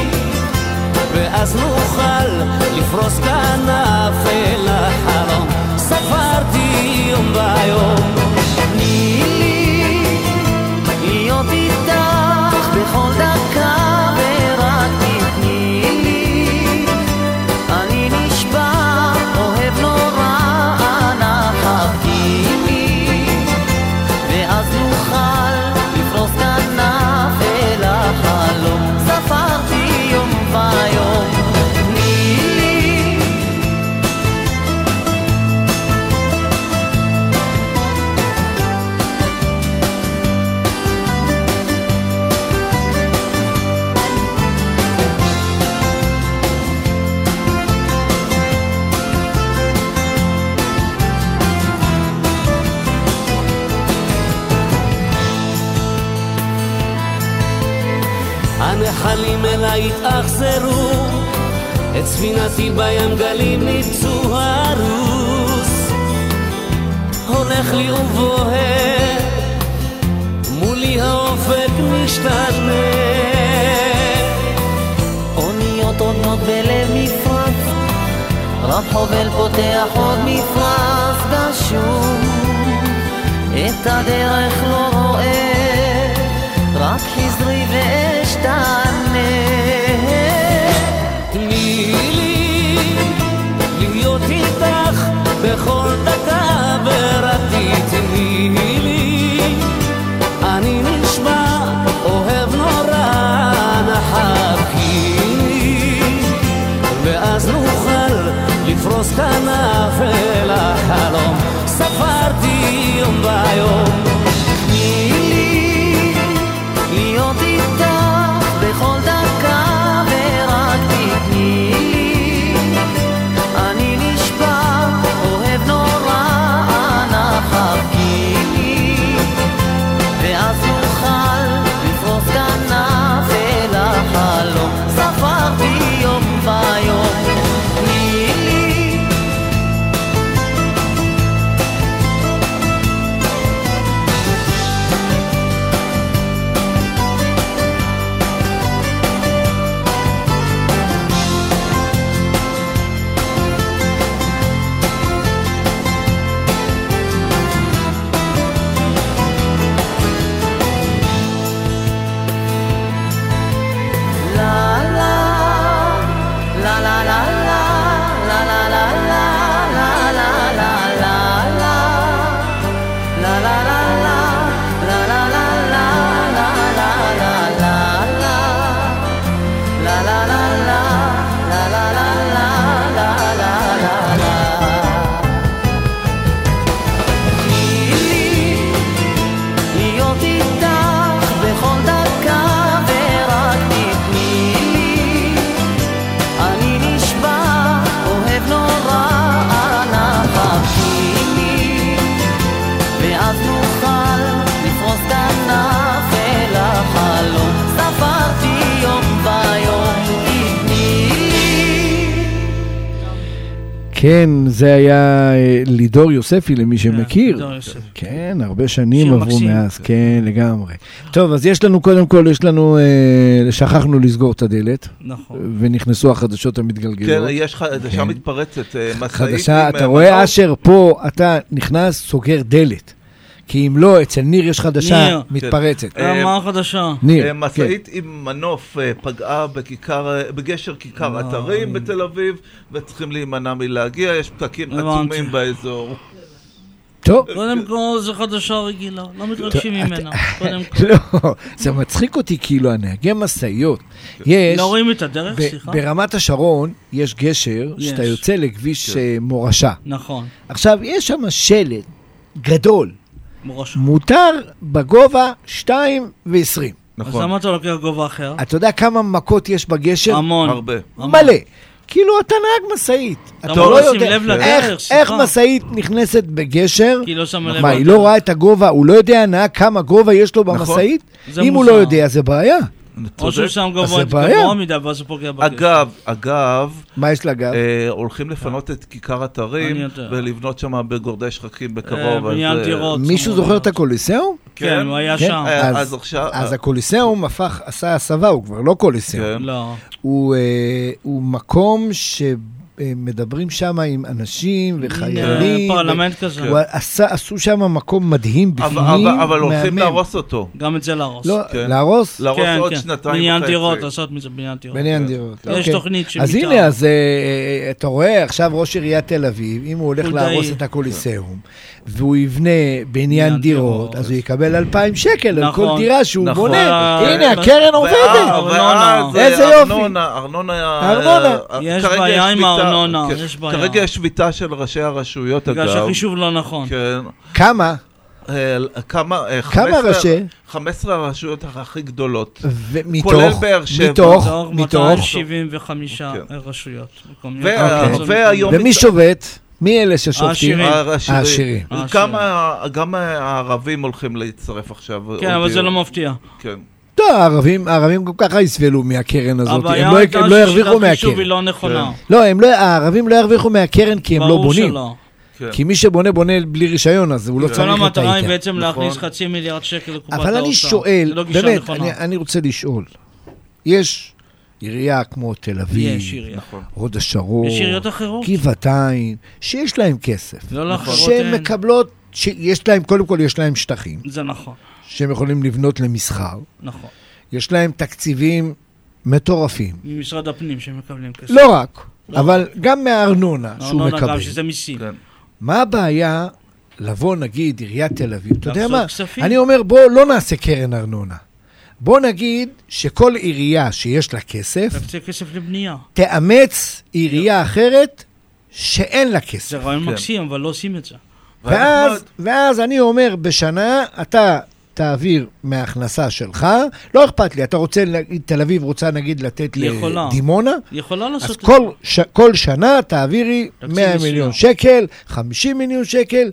I: ואז נוכל לפרוס כנף אל החלום ספרתי יום ביום תני לי
G: להיות איתך בכל דקה ורק תתני לי. אני נשבע, אוהב נורא, אנא חבקי לי. ואז נוכל לפרוס כנף אל החלום. ספרתי יום ויום. תני לי
I: הנחלים אליי התאכזרו, את ספינתי בים גלים ניפצו הרוס. הולך לי ובוהה, מולי האופק משתנה.
G: אוניות עונות בלב מפרץ, רב חובל פותח עוד מפרץ גשום. את הדרך לא רואה, רק חזרי ואשתנה.
I: תני לי להיות איתך בכל דקה ורק תתני לי. אני נשבע אוהב נורא נחבקי לי, ואז נוכל לפרוס כנף אל החלום. ספרתי יום ביום. תני לי
G: להיות איתך בכל דקה ורק תתני לי. אני נשבע, אוהב נורא, אנא חבקי לי. ואז נוכל לפרוס כנף אל החלום. ספרתי יום ויום. תני לי La la la la la la la la la la la la la la la La la la la la la la la la la la la la La la la la la la la la la la la la תני להיות איתך בכל דקה ורק תתני לי. אני נשבע, אוהב נורא, אנא חכי לי. ואז נוכל לפרוס כנף אל החלום.
C: כן, זה היה אה, לידור יוספי, למי שמכיר.
D: כן, לידור יוספי.
C: כן, הרבה שנים עברו
D: מקסים.
C: מאז, כן, לגמרי. טוב, אז יש לנו, קודם כל, יש לנו, אה, שכחנו לסגור את הדלת.
D: נכון.
C: ונכנסו החדשות המתגלגלות.
E: כן, יש לך חדשה מתפרצת, אה, משאית.
C: חדשה,
E: עם,
C: אתה
E: אה,
C: רואה,
E: מנוף.
C: אשר, פה אתה נכנס, סוגר דלת. כי אם לא, אצל ניר יש חדשה
D: ניר.
C: מתפרצת.
D: כן. אה, מה החדשה?
C: ניר,
E: אה,
C: כן.
E: משאית עם מנוף אה, פגעה בכיכר, אה, בגשר כיכר אתרים בתל אביב, וצריכים להימנע מלהגיע, יש פקקים
D: הבנתי.
E: עצומים באזור.
C: טוב.
D: קודם כל, זו חדשה רגילה, לא מתרגשים
C: אתה-
D: ממנה. קודם כל.
C: לא, זה מצחיק אותי, כאילו, הנהגי משאיות. יש...
D: לא רואים את הדרך,
C: ב-
D: סליחה?
C: ברמת השרון יש גשר
D: יש. כן.
C: שאתה יוצא לכביש אה, מורשה.
D: נכון.
C: עכשיו, יש שם שלט גדול.
D: מורשה.
C: מותר בגובה 2 ו-20.
D: אז
E: נכון.
D: למה אתה לוקח גובה אחר?
C: אתה יודע כמה מכות יש בגשר?
D: המון. הרבה. המון.
C: מלא. כאילו אתה נהג משאית. אתה
D: לא
C: לא
D: לשים
C: יודע
D: לב לדרך,
C: איך-
D: סליחה.
C: איך משאית נכנסת בגשר?
D: כי לא שמה לב
C: מה, היא
D: לדרך.
C: לא רואה את הגובה, הוא לא יודע נהג כמה גובה יש לו במשאית?
D: זה
C: אם הוא
D: מוזר.
C: לא יודע, זה בעיה.
D: או שהוא שם
C: אז
D: גובה
C: זה בעיה.
D: גבוה מדי, ואז הוא פוגע בגשר.
E: אגב, אגב...
C: מה יש לגב?
E: אה, הולכים לפנות את כיכר אתרים
D: אני יודע.
E: ולבנות שם בגורדי שחקים
D: אה,
E: בקרוב. אז,
D: בניין
E: אה,
D: דירות.
C: מישהו זוכר את הקוליסאום?
D: כן, הוא היה שם.
E: אה, אז עכשיו-
C: אז הקוליסאום הפך, עשה הסבה, הוא כבר לא
E: כן.
C: קוליסאום.
D: לא.
C: הוא, אה, הוא מקום שמדברים שם עם אנשים וחיילים.
D: אה, פרלמנט כזה.
C: הוא עשה, עשו שם מקום מדהים בפנים,
E: אבל, אבל, אבל הולכים
C: מהמם.
E: להרוס אותו.
D: גם את זה להרוס.
C: לא, להרוס?
E: להרוס
D: כן,
E: עוד
D: כן.
E: שנתיים
D: בניין
E: וחצי.
D: דירות, לעשות מזה בניין דירות.
C: בניין
D: כן.
C: דירות.
D: יש
C: אוקיי.
D: תוכנית שמתאר.
C: אז הנה, אז אה, אה, אתה רואה עכשיו ראש עיריית תל אביב, אם הוא הולך
D: חולדאי.
C: להרוס את הקוליסאום, והוא יבנה בניין דירות, אז הוא יקבל 2,000 שקל על
D: נכון,
C: כל דירה שהוא
D: נכון.
C: בונה.
D: אה,
C: הנה,
D: ו-
E: ואז-
C: הקרן עובדת.
E: ואז, אה,
C: איזה יופי.
E: ארנונה, ארנונה.
C: ארנונה.
E: אה,
D: יש
E: כרגע
D: בעיה עם
E: שביתה-
D: הארנונה,
E: כן,
D: יש בעיה.
E: כרגע יש שביתה של ראשי הרשויות, אגב.
D: בגלל שהחישוב לא נכון.
E: כן.
C: כמה?
E: אה, כמה? אה,
C: כמה
E: 15
C: ראשי?
E: 15 הרשויות הכי גדולות.
C: ומתוך-
E: כולל באר שבע.
C: מתוך-
D: מתוך
C: מתוך-
D: 275 רשויות. מקומיות.
E: וה-
D: אוקיי.
E: והיום-
C: ומי שובת? מי אלה ששובתים?
E: העשירים.
C: העשירים.
D: אה,
E: גם ה- גם הערבים הולכים להצטרף עכשיו.
D: כן, אבל זה לא מפתיע.
E: כן.
C: לא, הערבים, הערבים גם ככה יסבלו מהקרן הזאת,
D: הבעיה
C: הם לא,
D: הייתה
C: הם לא ירוויחו
D: ששיטת חישוב
C: מהקרן.
D: היא לא נכונה.
C: לא, הם לא, הערבים לא ירוויחו מהקרן כי הם לא
D: ברור
C: בונים.
D: שלא. כן.
C: כי מי שבונה, בונה בלי רישיון, אז הוא לא
D: כל
C: צריך את
D: המטרה היא
C: ההיתר.
D: בעצם להכניס
E: נכון.
D: חצי מיליארד שקל לקופת האוצר.
C: אבל אני שואל,
D: זה לא גישה
C: באמת,
D: נכונה.
C: אני, אני רוצה לשאול. יש עירייה כמו תל אביב,
D: יש עירייה. נכון.
C: הוד השרון,
D: יש עיריות אחרות.
C: גבעתיים, שיש להם כסף.
D: לא לאחרות
C: שהן
D: אין.
C: מקבלות, שיש להם, קודם כל יש להם שטחים,
D: זה נכון,
C: שהם יכולים לבנות למסחר.
D: נכון.
C: יש להם תקציבים מטורפים.
D: ממשרד הפנים שמקבלים כסף.
C: לא רק, אבל גם מהארנונה שהוא
D: ארנונה
C: מקבל.
D: לא, גם שזה מיסים.
C: מה הבעיה לבוא, נגיד, עיריית תל אביב, אתה יודע
D: לעשות
C: מה?
D: כספים.
C: אני אומר, בוא לא נעשה קרן ארנונה. בוא נגיד שכל עירייה שיש לה כסף,
D: תקציב כסף לבנייה.
C: תאמץ עירייה אחרת שאין לה כסף.
D: זה
C: כן.
D: רעיון מקסים, אבל לא עושים את זה.
C: ואז, ואז אני אומר, בשנה אתה תעביר מההכנסה שלך, לא אכפת לי, אתה רוצה, נגיד, תל אביב רוצה נגיד לתת
D: היא יכולה.
C: לדימונה,
D: היא יכולה
C: אז
D: לעשות את זה.
C: כל, ש... כל שנה תעבירי
D: תקציב
C: 100
D: מסוים.
C: מיליון שקל, 50 מיליון שקל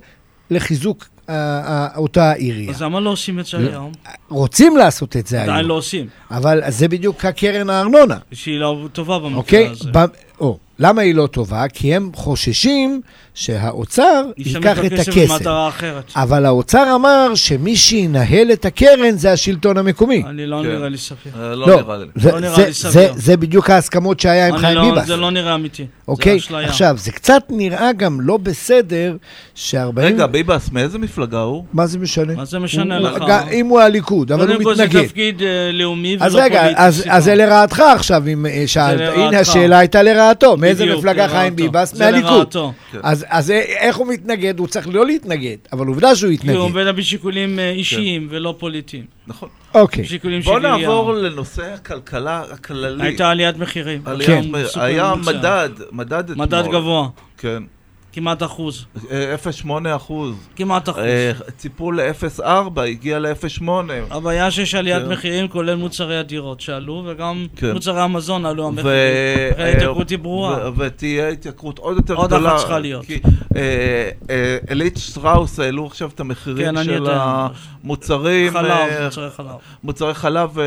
C: לחיזוק אה, אה, אותה עירייה.
D: אז למה לא עושים את זה
C: לא.
D: היום?
C: רוצים לעשות את זה
D: עדיין
C: היום,
D: אוקיי. לא עושים.
C: אבל זה בדיוק הקרן הארנונה,
D: שהיא לא טובה במקרה
C: אוקיי?
D: הזה.
C: ב... או, למה היא לא טובה? כי הם חוששים שהאוצר
D: ישתמש
C: ייקח את
D: בכסף
C: הכסף.
D: למטרה אחרת.
C: אבל האוצר אמר שמי שינהל את הקרן זה השלטון המקומי.
D: אני לא נראה לי סביר.
C: זה,
D: לא
C: זה,
D: נראה לי
C: זה,
D: סביר.
C: זה בדיוק ההסכמות שהיה עם
D: אני
C: חיים
D: לא-
C: ביבס.
D: זה לא נראה אמיתי.
C: אוקיי?
D: זה אשליה.
C: עכשיו, זה קצת נראה גם לא בסדר ש-40...
E: רגע, ביבס, מאיזה מפלגה הוא?
C: מה זה משנה?
D: מה זה משנה
C: הוא-
D: לך?
C: גם אם הוא הליכוד, אבל הוא
D: קודם כל זה
C: מתנגד.
D: תפקיד אה, לאומי ולא
C: אז
D: פוליטי.
C: רגע, אז-
D: סליחה.
C: אז זה לרעתך עכשיו, אם אה, שאלת.
D: לרעתך.
C: הנה, השאלה הייתה לרעתו. מאיזה
D: בדיוק,
C: מפלגה
D: לרעתו.
C: חיים ביבס?
D: זה
C: מהליכוד.
D: לרעתו.
C: אז אז, אה, איך הוא מתנגד? הוא צריך לא להתנגד, אבל עובדה שהוא
D: כי הוא
C: התנגד.
D: עובד בשיקולים אה, אישיים ולא פוליטיים.
E: נכון.
C: אוקיי.
D: שיקולים של
E: בוא
D: עירייה.
E: נעבור לנושא הכלכלה הכללי.
D: הייתה עליית מחירים.
E: עלייה-
D: כן. סופר
E: היה
D: ממוצע.
E: מדד, מדד אתמול.
D: מדד גבוה.
E: כן.
D: כמעט אחוז.
E: אה, 0.8 אחוז.
D: כמעט אחוז.
E: אה, ציפו ל-0.4, הגיע ל-0.8.
D: הבעיה שיש עליית
E: כן.
D: מחירים כולל מוצרי הדירות שעלו, וגם
E: כן.
D: מוצרי המזון עלו
E: ו-
D: המחירים.
E: אה,
D: ההתייקרות היא ברורה.
E: ו- ותהיה התייקרות עוד יותר
D: עוד
E: גדולה.
D: אחת צריכה להיות.
E: כי, אה, אה, אלית שטראוס העלו עכשיו את
D: כן,
E: המחירים
D: אני
E: של
D: יודע.
E: המוצרים.
D: חלב,
E: אה,
D: מוצרי חלב.
E: מוצרי חלב, אה,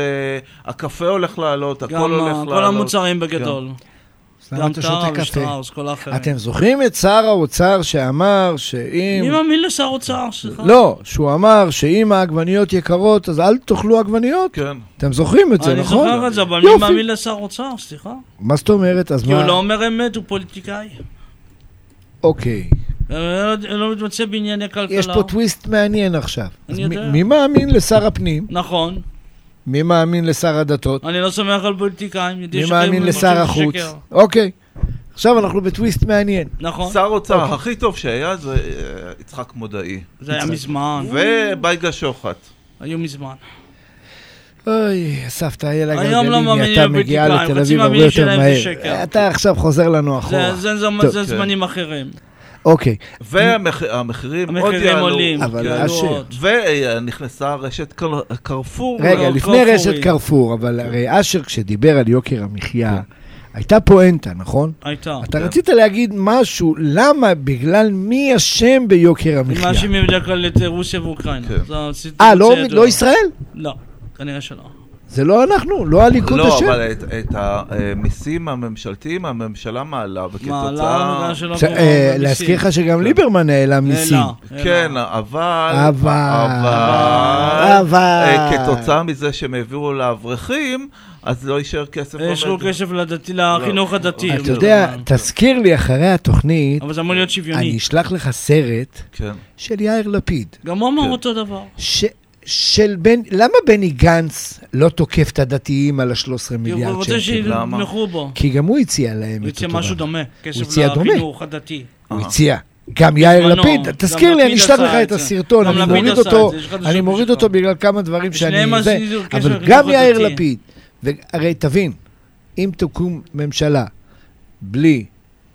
E: הקפה הולך לעלות, הכל
D: גם
E: הולך
D: ה-
E: לעלות.
D: כל המוצרים בגדול.
E: כן.
C: למה
D: גם
C: אתה שותה
D: טרה
C: קפה?
D: ושטראוס, כל האחרים.
C: אתם זוכרים את שר האוצר שאמר שאם...
D: מי מאמין לשר אוצר? סליחה.
C: לא, שהוא אמר שאם העגבניות יקרות, אז אל תאכלו עגבניות.
E: כן.
C: אתם זוכרים את זה,
D: אני
C: נכון?
D: זוכר את זה, אבל מי
C: יופי.
D: מאמין לשר אוצר? סליחה.
C: מה זאת אומרת? אז
D: כי הוא
C: מה...
D: לא אומר אמת, הוא פוליטיקאי.
C: אוקיי.
D: הוא לא- לא מתמצא בענייני כלכלה.
C: יש פה טוויסט מעניין עכשיו. אז
D: לא. אני
C: מי-
D: יודע.
C: מי מאמין לשר הפנים?
D: נכון.
C: מי מאמין לשר הדתות?
D: אני לא סומך על פוליטיקאים. יודעים
C: מי
D: שהם
C: מאמין
D: רוצים
C: לשר
D: לשקר.
C: החוץ? אוקיי. עכשיו אנחנו בטוויסט מעניין.
D: נכון.
E: שר אוצר
C: אוקיי.
E: הכי טוב שהיה זה אה, יצחק מודעי.
D: זה היה מזמן.
E: ובייגה שוחט.
D: היו מזמן.
C: אוי, סבתא, היה לה
D: היום לא
C: גלגלים,
D: מאמינים
C: היא הייתה מגיעה
D: לפוליטיקאים,
C: לתל
D: רוצים
C: אביב הרבה
D: להאמין שלהם
C: יותר
D: זה
C: מהר.
D: שקר.
C: אתה עכשיו חוזר לנו אחורה.
D: זה- זה זמ-
C: טוב.
E: כן.
D: זה זמנים אחרים.
C: אוקיי.
E: והמחירים עוד
D: המחירים
E: יעלו.
D: עולים, אבל יעלו השיר. עוד.
E: ונכנסה רשת קר- קרפור.
C: רגע,
E: לא,
C: לפני
E: קרפורי.
C: רשת קרפור, אבל הרי אשר כשדיבר על יוקר המחיה, הייתה פואנטה, נכון?
D: כן. הייתה. כן.
C: אתה רצית להגיד משהו, למה, בגלל מי אשם ביוקר
D: הם
C: המחיה?
D: מאשימים בדרך כלל את אה, רוסיה ואוקראינה.
E: כן.
D: זה הסיטואציה
C: אה, לא-
D: הידועה.
C: לא ישראל?
D: לא, כנראה שלא.
C: זה לא אנחנו, לא הליכוד
E: לא,
C: אשם.
E: אבל את, את המיסים הממשלתיים הממשלה מעלה, וכתוצאה...
D: מעלה, בגלל שלא
C: זה,
D: קוראים
C: אה,
D: למיסים.
C: להזכיר לך שגם ליברמן העלה מיסים.
E: כן, אבל...
C: אבל-
E: אבל...
C: אבל-
E: אה, כתוצאה מזה שהם העבירו לאברכים, אז לא יישאר כסף.
D: אה, יש לו
E: במדינה.
D: כסף לדתי- לחינוך הדתי.
C: אתה יודע, תזכיר לי אחרי התוכנית,
D: אבל זה אמור להיות שוויוני.
C: אני אשלח לך סרט
E: כן.
C: של יאיר לפיד.
D: גם הוא אמר אותו דבר.
C: ש- של בן, למה בני גנץ לא תוקף את הדתיים על ה-13
D: כי הוא
C: מיליארד
D: רוצה
C: שקל?
D: שיתמכו בו.
C: כי גם הוא הציע להם
D: הוא
C: את
D: הציע
C: אותו
D: משהו
C: דבר.
D: דומה. כסף
C: הוא הציע דומה. אה.
D: לחינוך הדתי. אה,
C: הוא הציע. גם יאיר
D: בזמנו,
C: לפיד,
D: גם
C: תזכיר לי, אני
D: לפיד
C: אשלח
D: עשה
C: לך
D: את
C: את
D: זה.
C: הסרטון,
D: גם
C: אני
D: לפיד
C: מוריד
D: עשה את
C: אותו,
D: זה, יש חדשות
C: אני מוריד אותו בגלל כמה דברים שאני...
D: ושניהם
C: זה,
D: עשינו קשר
C: אבל
D: לחינוך
C: גם יאיר
D: הדתי.
C: לפיד, הרי תבין, אם תקום ממשלה בלי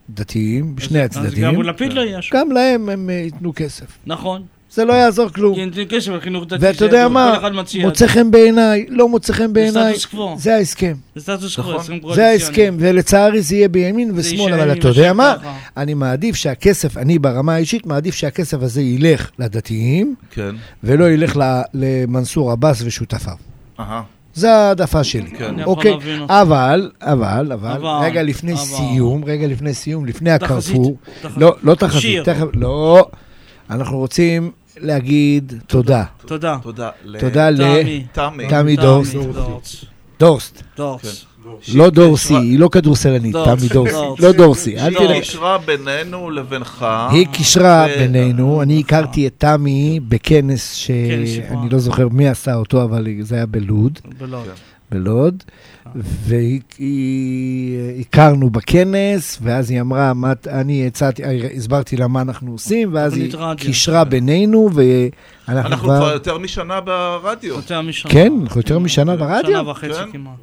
C: דתיים, בשני
D: אז גם
C: הצדדים,
D: לפיד לא יהיה
C: גם להם הם אה, ייתנו כסף.
D: נכון.
C: זה לא יעזור כלום.
D: כי אין כסף לחינוך דתי.
C: ואתה
D: זה
C: יודע
D: כל
C: מה,
D: אחד מציע.
C: מוצא חן בעיניי, לא מוצא חן בעיניי,
D: סטטוס קוו.
C: זה ההסכם.
D: זה סטטוס קוו, הסכם
C: זה
D: קואליציוני.
C: ההסכם, ולצערי זה יהיה בימין ושמאל,
D: יישאר
C: אבל
D: עם
C: אתה יודע
D: השם
C: מה?
D: ככה.
C: אני מעדיף שהכסף, אני ברמה האישית, מעדיף שהכסף הזה ילך לדתיים,
E: כן.
C: ולא ילך ל- למנסור עבאס ושותפיו.
E: אהה.
C: זה ההעדפה שלי.
E: כן. אני יכול
C: אוקיי,
E: להבין אותך.
C: אבל, אבל, אבל,
E: אבל,
C: רגע לפני
E: אבל.
C: סיום, רגע לפני סיום, לפני הקרפור.
D: תחזית.
C: לא, לא תחזית,
D: שיר.
C: תכף, לא. אנחנו רוצים להגיד תודה.
D: תודה.
E: תודה ל-
C: תודה ל...
D: תמי. תמי.
C: תמי
D: תמי
C: דורסט.
D: דורסט.
C: דורסט.
D: דורסט.
E: כן.
C: לא דורסי, היא לא כדורסלנית,
E: דורסט.
C: תמי דורסי.
E: דורסט.
C: לא דורסי, אל
E: שהיא
C: תלך.
E: קישרה בינינו לבינך.
C: היא קישרה
E: ו- נכון.
C: בינינו, אני הכרתי את תמי בכנס שאני לא זוכר מי עשה אותו, אבל זה היה בלוד. כן.
D: בלוד.
C: בלוד, והיא- היא- הכרנו בכנס, ואז היא אמרה, מה את- אני הצעתי, הסברתי לה מה אנחנו עושים, ואז היא
D: תוכנית רדיו.
C: קישרה בינינו, ואנחנו
E: כן. אנחנו כבר
C: כבר...
E: יותר משנה ברדיו. כן.
D: יותר משנה.
C: כן, אנחנו יותר משנה ברדיו.
D: שנה וחצי כמעט.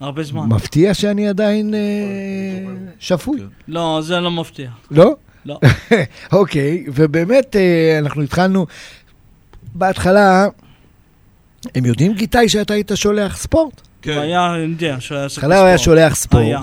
D: הרבה זמן.
C: מפתיע שאני עדיין אה, שפוי.
D: לא, זה לא מפתיע.
C: לא?
D: לא.
C: אוקיי, ובאמת אה, אנחנו התחלנו, בהתחלה, הם יודעים, גיטאי, שאתה היית שולח ספורט?
D: הוא היה, אני יודע, שהוא היה
C: בהתחלה הוא היה שולח ספורט,
D: היה.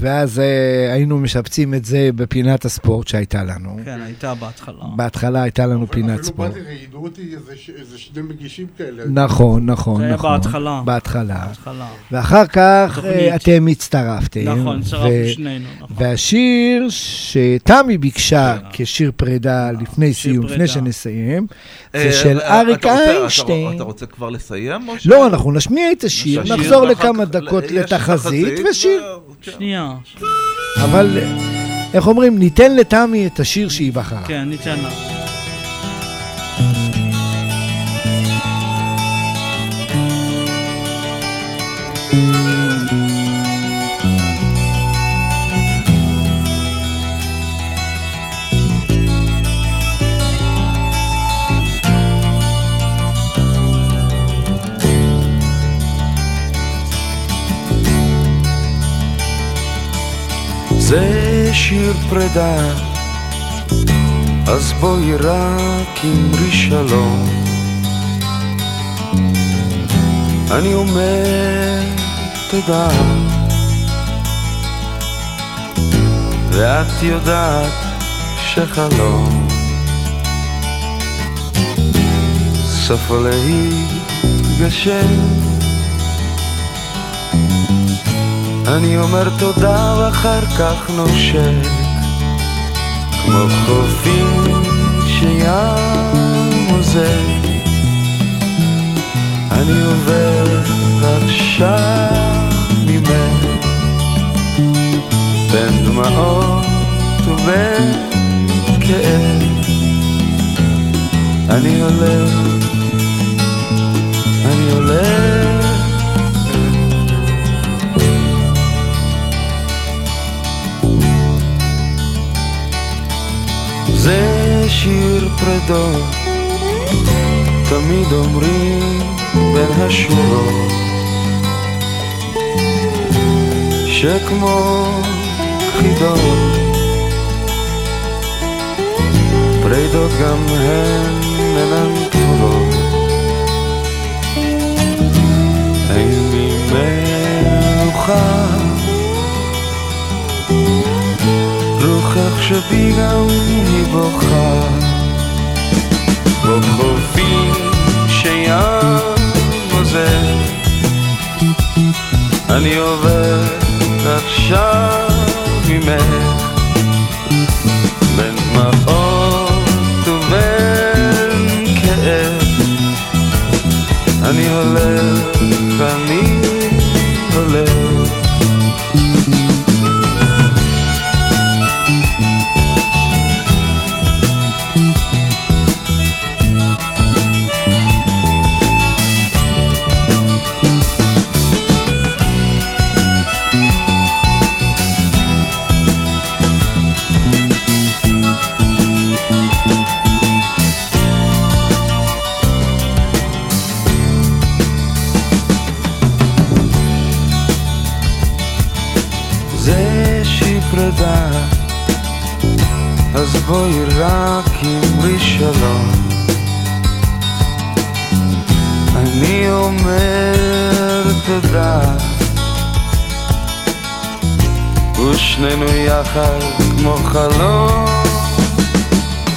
C: ואז אה, היינו משפצים את זה בפינת הספורט שהייתה לנו.
D: כן, הייתה בהתחלה.
C: בהתחלה הייתה לנו פינת
F: אפילו
C: ספורט.
F: באתי, ראיינו אותי איזה ש- איזה שני מגישים כאלה.
C: נכון, נכון,
D: זה היה
C: נכון.
D: בהתחלה.
C: בהתחלה.
D: בהתחלה.
C: ואחר כך
D: תוכנית.
C: אה, אתם הצטרפתם.
D: נכון, הצטרפנו
C: ו-
D: שנינו, נכון.
C: והשיר שתמי ביקשה כשיר
D: אה,
C: פרידה לפני סיום,
E: פרידה.
C: לפני שנסיים,
E: אה,
C: זה של
E: אה,
C: אריק
E: אתה רוצה- אתה-
C: איינשטיין.
E: אתה רוצה כבר לסיים? או ש-
C: לא, אנחנו נשמיע את השיר,
E: נשמיע,
C: נחזור
E: ואחר
C: לכמה
E: כך-
C: דקות
E: יש לא,
C: לתחזית
E: תחזית,
C: ושיר.
E: אוקיי.
D: שנייה.
C: אבל אה, איך אומרים, ניתן לתמי את השיר שהיא בחרה.
D: כן, ניתן לה.
J: זה שיר פרידה, אז בואי רק אמרי שלום. אני אומר תודה, ואת יודעת שחלום סוף להתגשם. אני אומר תודה ואחר כך נושק כמו חופים שים עוזר אני עובר עכשיו ממך בין דמעות ובין כאב אני הולך, אני הולך זה שיר פרדות, תמיד אומרים בין השורות שכמו חידות פרידות גם הן אינן פתורות אין לי מלוכה רוחך שבי גם היא בוכה בחופים שים עוזר אני עובר עכשיו ממך בין דמעות ובין כאב אני הולך, אני הולך זה שהיא פרידה, אז בואי רק אמרי שלום. אני אומר תודה, ושנינו יחד כמו חלום,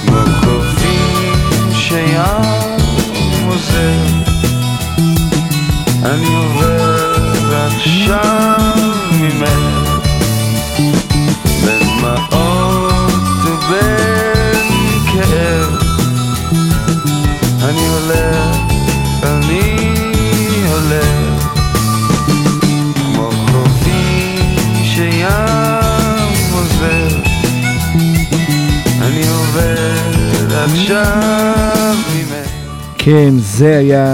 J: כמו קובעים שים עוזר. אני עובר עכשיו ממך בין מעות ובין כאב אני הולך, אני הולך כמו חופים שים עוזר אני עובר עכשיו ממך
C: כן, זה היה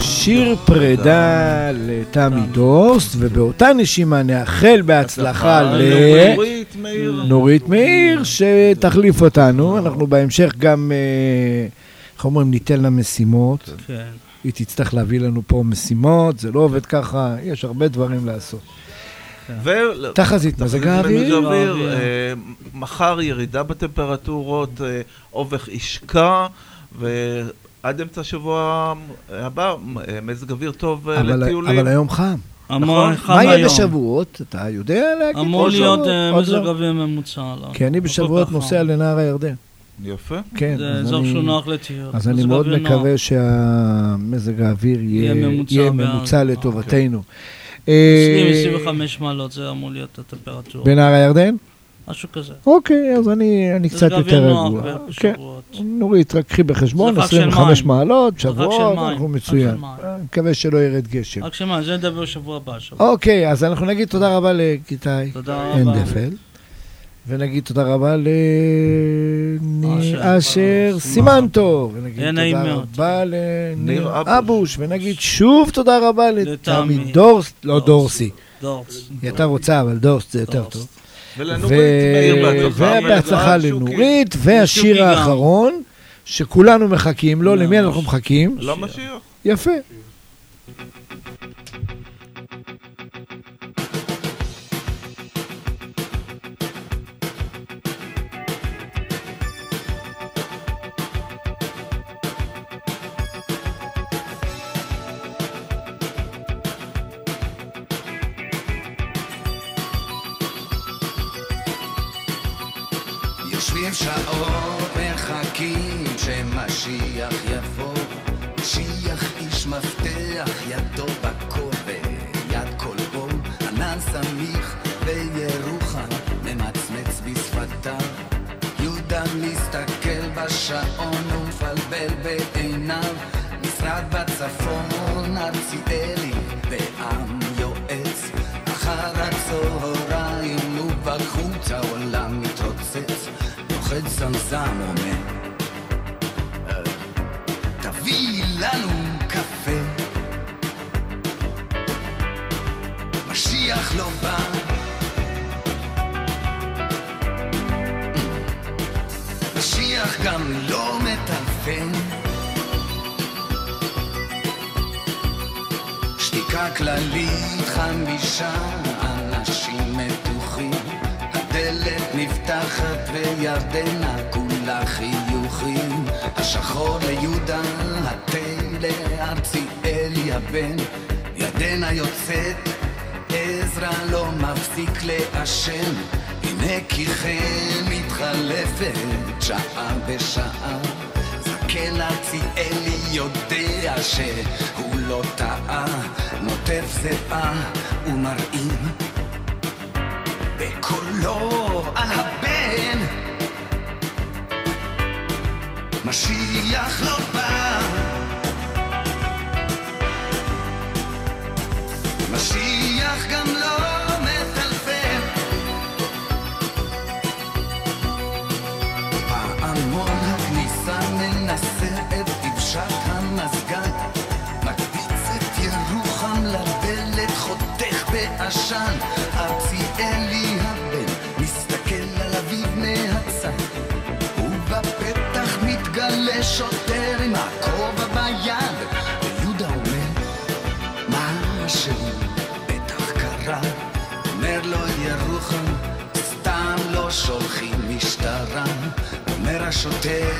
C: שיר פרידה לתמי דורסט, ובאותה נשימה נאחל בהצלחה ל...
E: נורית מאיר.
C: נורית מאיר, שתחליף אותנו. אנחנו בהמשך גם, אה, איך אומרים, ניתן לה משימות.
D: כן.
C: היא תצטרך להביא לנו פה משימות, זה לא עובד ככה, יש הרבה דברים לעשות.
E: ו-
C: תחזית מזג האוויר.
E: אה, מחר ירידה בטמפרטורות, אה, אובך ישקע, ועד אמצע השבוע הבא, אה, מזג אוויר טוב אה,
C: אבל
E: לטיולים.
C: אבל היום חם.
E: נכון?
C: מה יהיה בשבועות? אתה יודע להגיד?
D: אמור
C: עוד
D: להיות
C: שבועות?
D: אה,
C: עוד
D: מזג
C: לא.
D: אוויר ממוצע. לא.
C: כי אני
D: לא כל
C: בשבועות
D: כך
C: נוסע לנהר הירדן.
E: יפה.
C: כן.
D: זה
C: אז
D: אזור
C: אני-
D: שהוא נוח לטיול.
C: אז אני
D: מזג
C: מאוד
D: אוויר נוח.
C: מקווה שהמזג האוויר יהיה
D: יהיה ממוצע
C: יהיה
D: בעד.
C: ממוצע לטובתנו. אה,
D: 20-25 מעלות זה אמור להיות הטמפרטורה.
C: בנהר הירדן?
D: משהו כזה.
C: אוקיי, אז אני אני
D: זה
C: קצת
D: אוויר
C: יותר
D: נוח
C: רגוע.
D: בערך
C: כן. נורית, רק קחי בחשבון,
D: זה רק של
C: 25
D: מים.
C: מעלות,
D: זה רק של
C: שבועות,
D: מים,
C: אנחנו
D: רק
C: מצוין.
D: של מים.
C: אני מקווה שלא ירד גשם.
D: רק שמה, זה נדבר בשבוע הבא. שבוע.
C: כן. אוקיי, אז אנחנו נגיד תודה רבה לגיטאי
D: תודה רבה.
C: הנדפל, ונגיד תודה רבה לאשר סימנטו, ונגיד
D: היה אה, נעים
C: תודה
D: מאוד.
C: רבה לניר
D: אבוש.
C: אבוש, ונגיד שוב תודה רבה לתמי דורסט, לא דורסי.
D: דורס.
C: היא הייתה רוצה, אבל דורסט זה יותר טוב.
E: ולנורית,
C: ו-
E: מאיר, בהצלחה.
C: ובהצלחה
E: ולאלעד שוקי.
C: לנורית, והשיר
E: גם.
C: האחרון, שכולנו מחכים לו, למי אנחנו מחכים?
E: לא משיח.
C: יפה.
K: יושבים שעות מחכים שמשיח יבוא משיח איש מפתח ידו בכובע יד כל בו ענן סמים מליך בירוחם, ממצמץ בשפתיו. יהודה מסתכל בשעון ומפלבל בעיניו, משרד בצפון, ארצידלי, בעם יועץ. אחר הצהריים, נו בחוץ העולם מתרוצץ, נוחת זמזם אומר, "אה, תביאי לנו קפה. משיח לא בא. משיח גם לא מטלפן. שתיקה כללית חמישה אנשים מתוחים. הדלת נפתחת וירדנה כולה חיוכים. השחור ליהודה, התה לארציאלי הבן. ירדנה יוצאת עזרא לא מפסיק לעשן, הנה כי כן מתחלפת שעה בשעה. זקן אציאלי יודע שהוא לא טעה, נוטף זיעה ומרעים בקולו על הבן. משיח לא בא משיח גם לא מטלפל. פעמון הכניסה מנסה את דבשת המזגן, מקפיץ את ירוחם לדלת, חותך בעשן. ארציאלי הבן מסתכל על אביו מהצד, ובפתח מתגלה שוטר עם הכובע ביד. ויהודה אומר משהו בטח קרה, אומר לו ירוחם, סתם לא שולחים משטרה, אומר השוטר,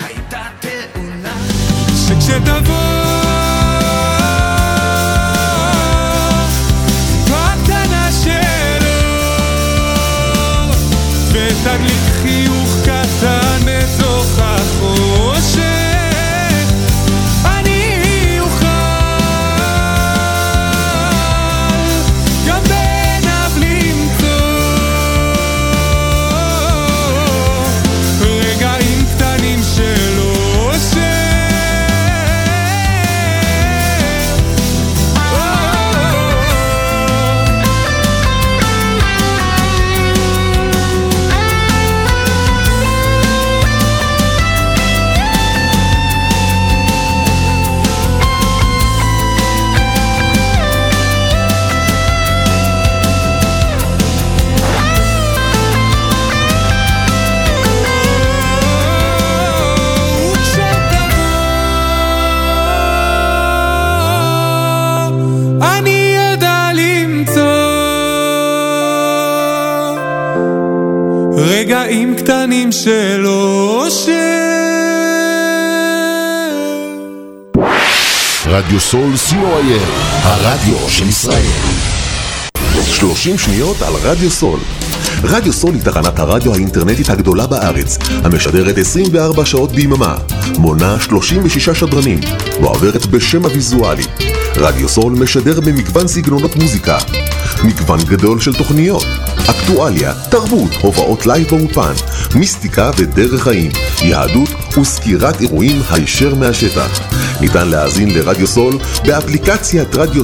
K: הייתה תאונה.
G: שכשתבוא מתנה של אור, ותדליק חיוך קטן בתוך החושך, אני אוכל גם בין הבלימצות רגעים קטנים של אושר. וכשתבוא, אני אדע למצוא רגעים קטנים של אושר.
L: רדיו סול co.il, הרדיו של ישראל.
A: 30 שניות על רדיו סול. רדיו סול היא תחנת הרדיו האינטרנטית הגדולה בארץ, המשדרת 24 שעות ביממה, מונה 36 שדרנים, מועברת בשם הוויזואלי. רדיו סול משדר במגוון סגנונות מוזיקה, מגוון גדול של תוכניות, אקטואליה, תרבות, הופעות לייב באולפן, מיסטיקה ודרך חיים, יהדות וסקירת אירועים הישר מהשטח. ניתן להאזין לרדיו סול באפליקציית רדיו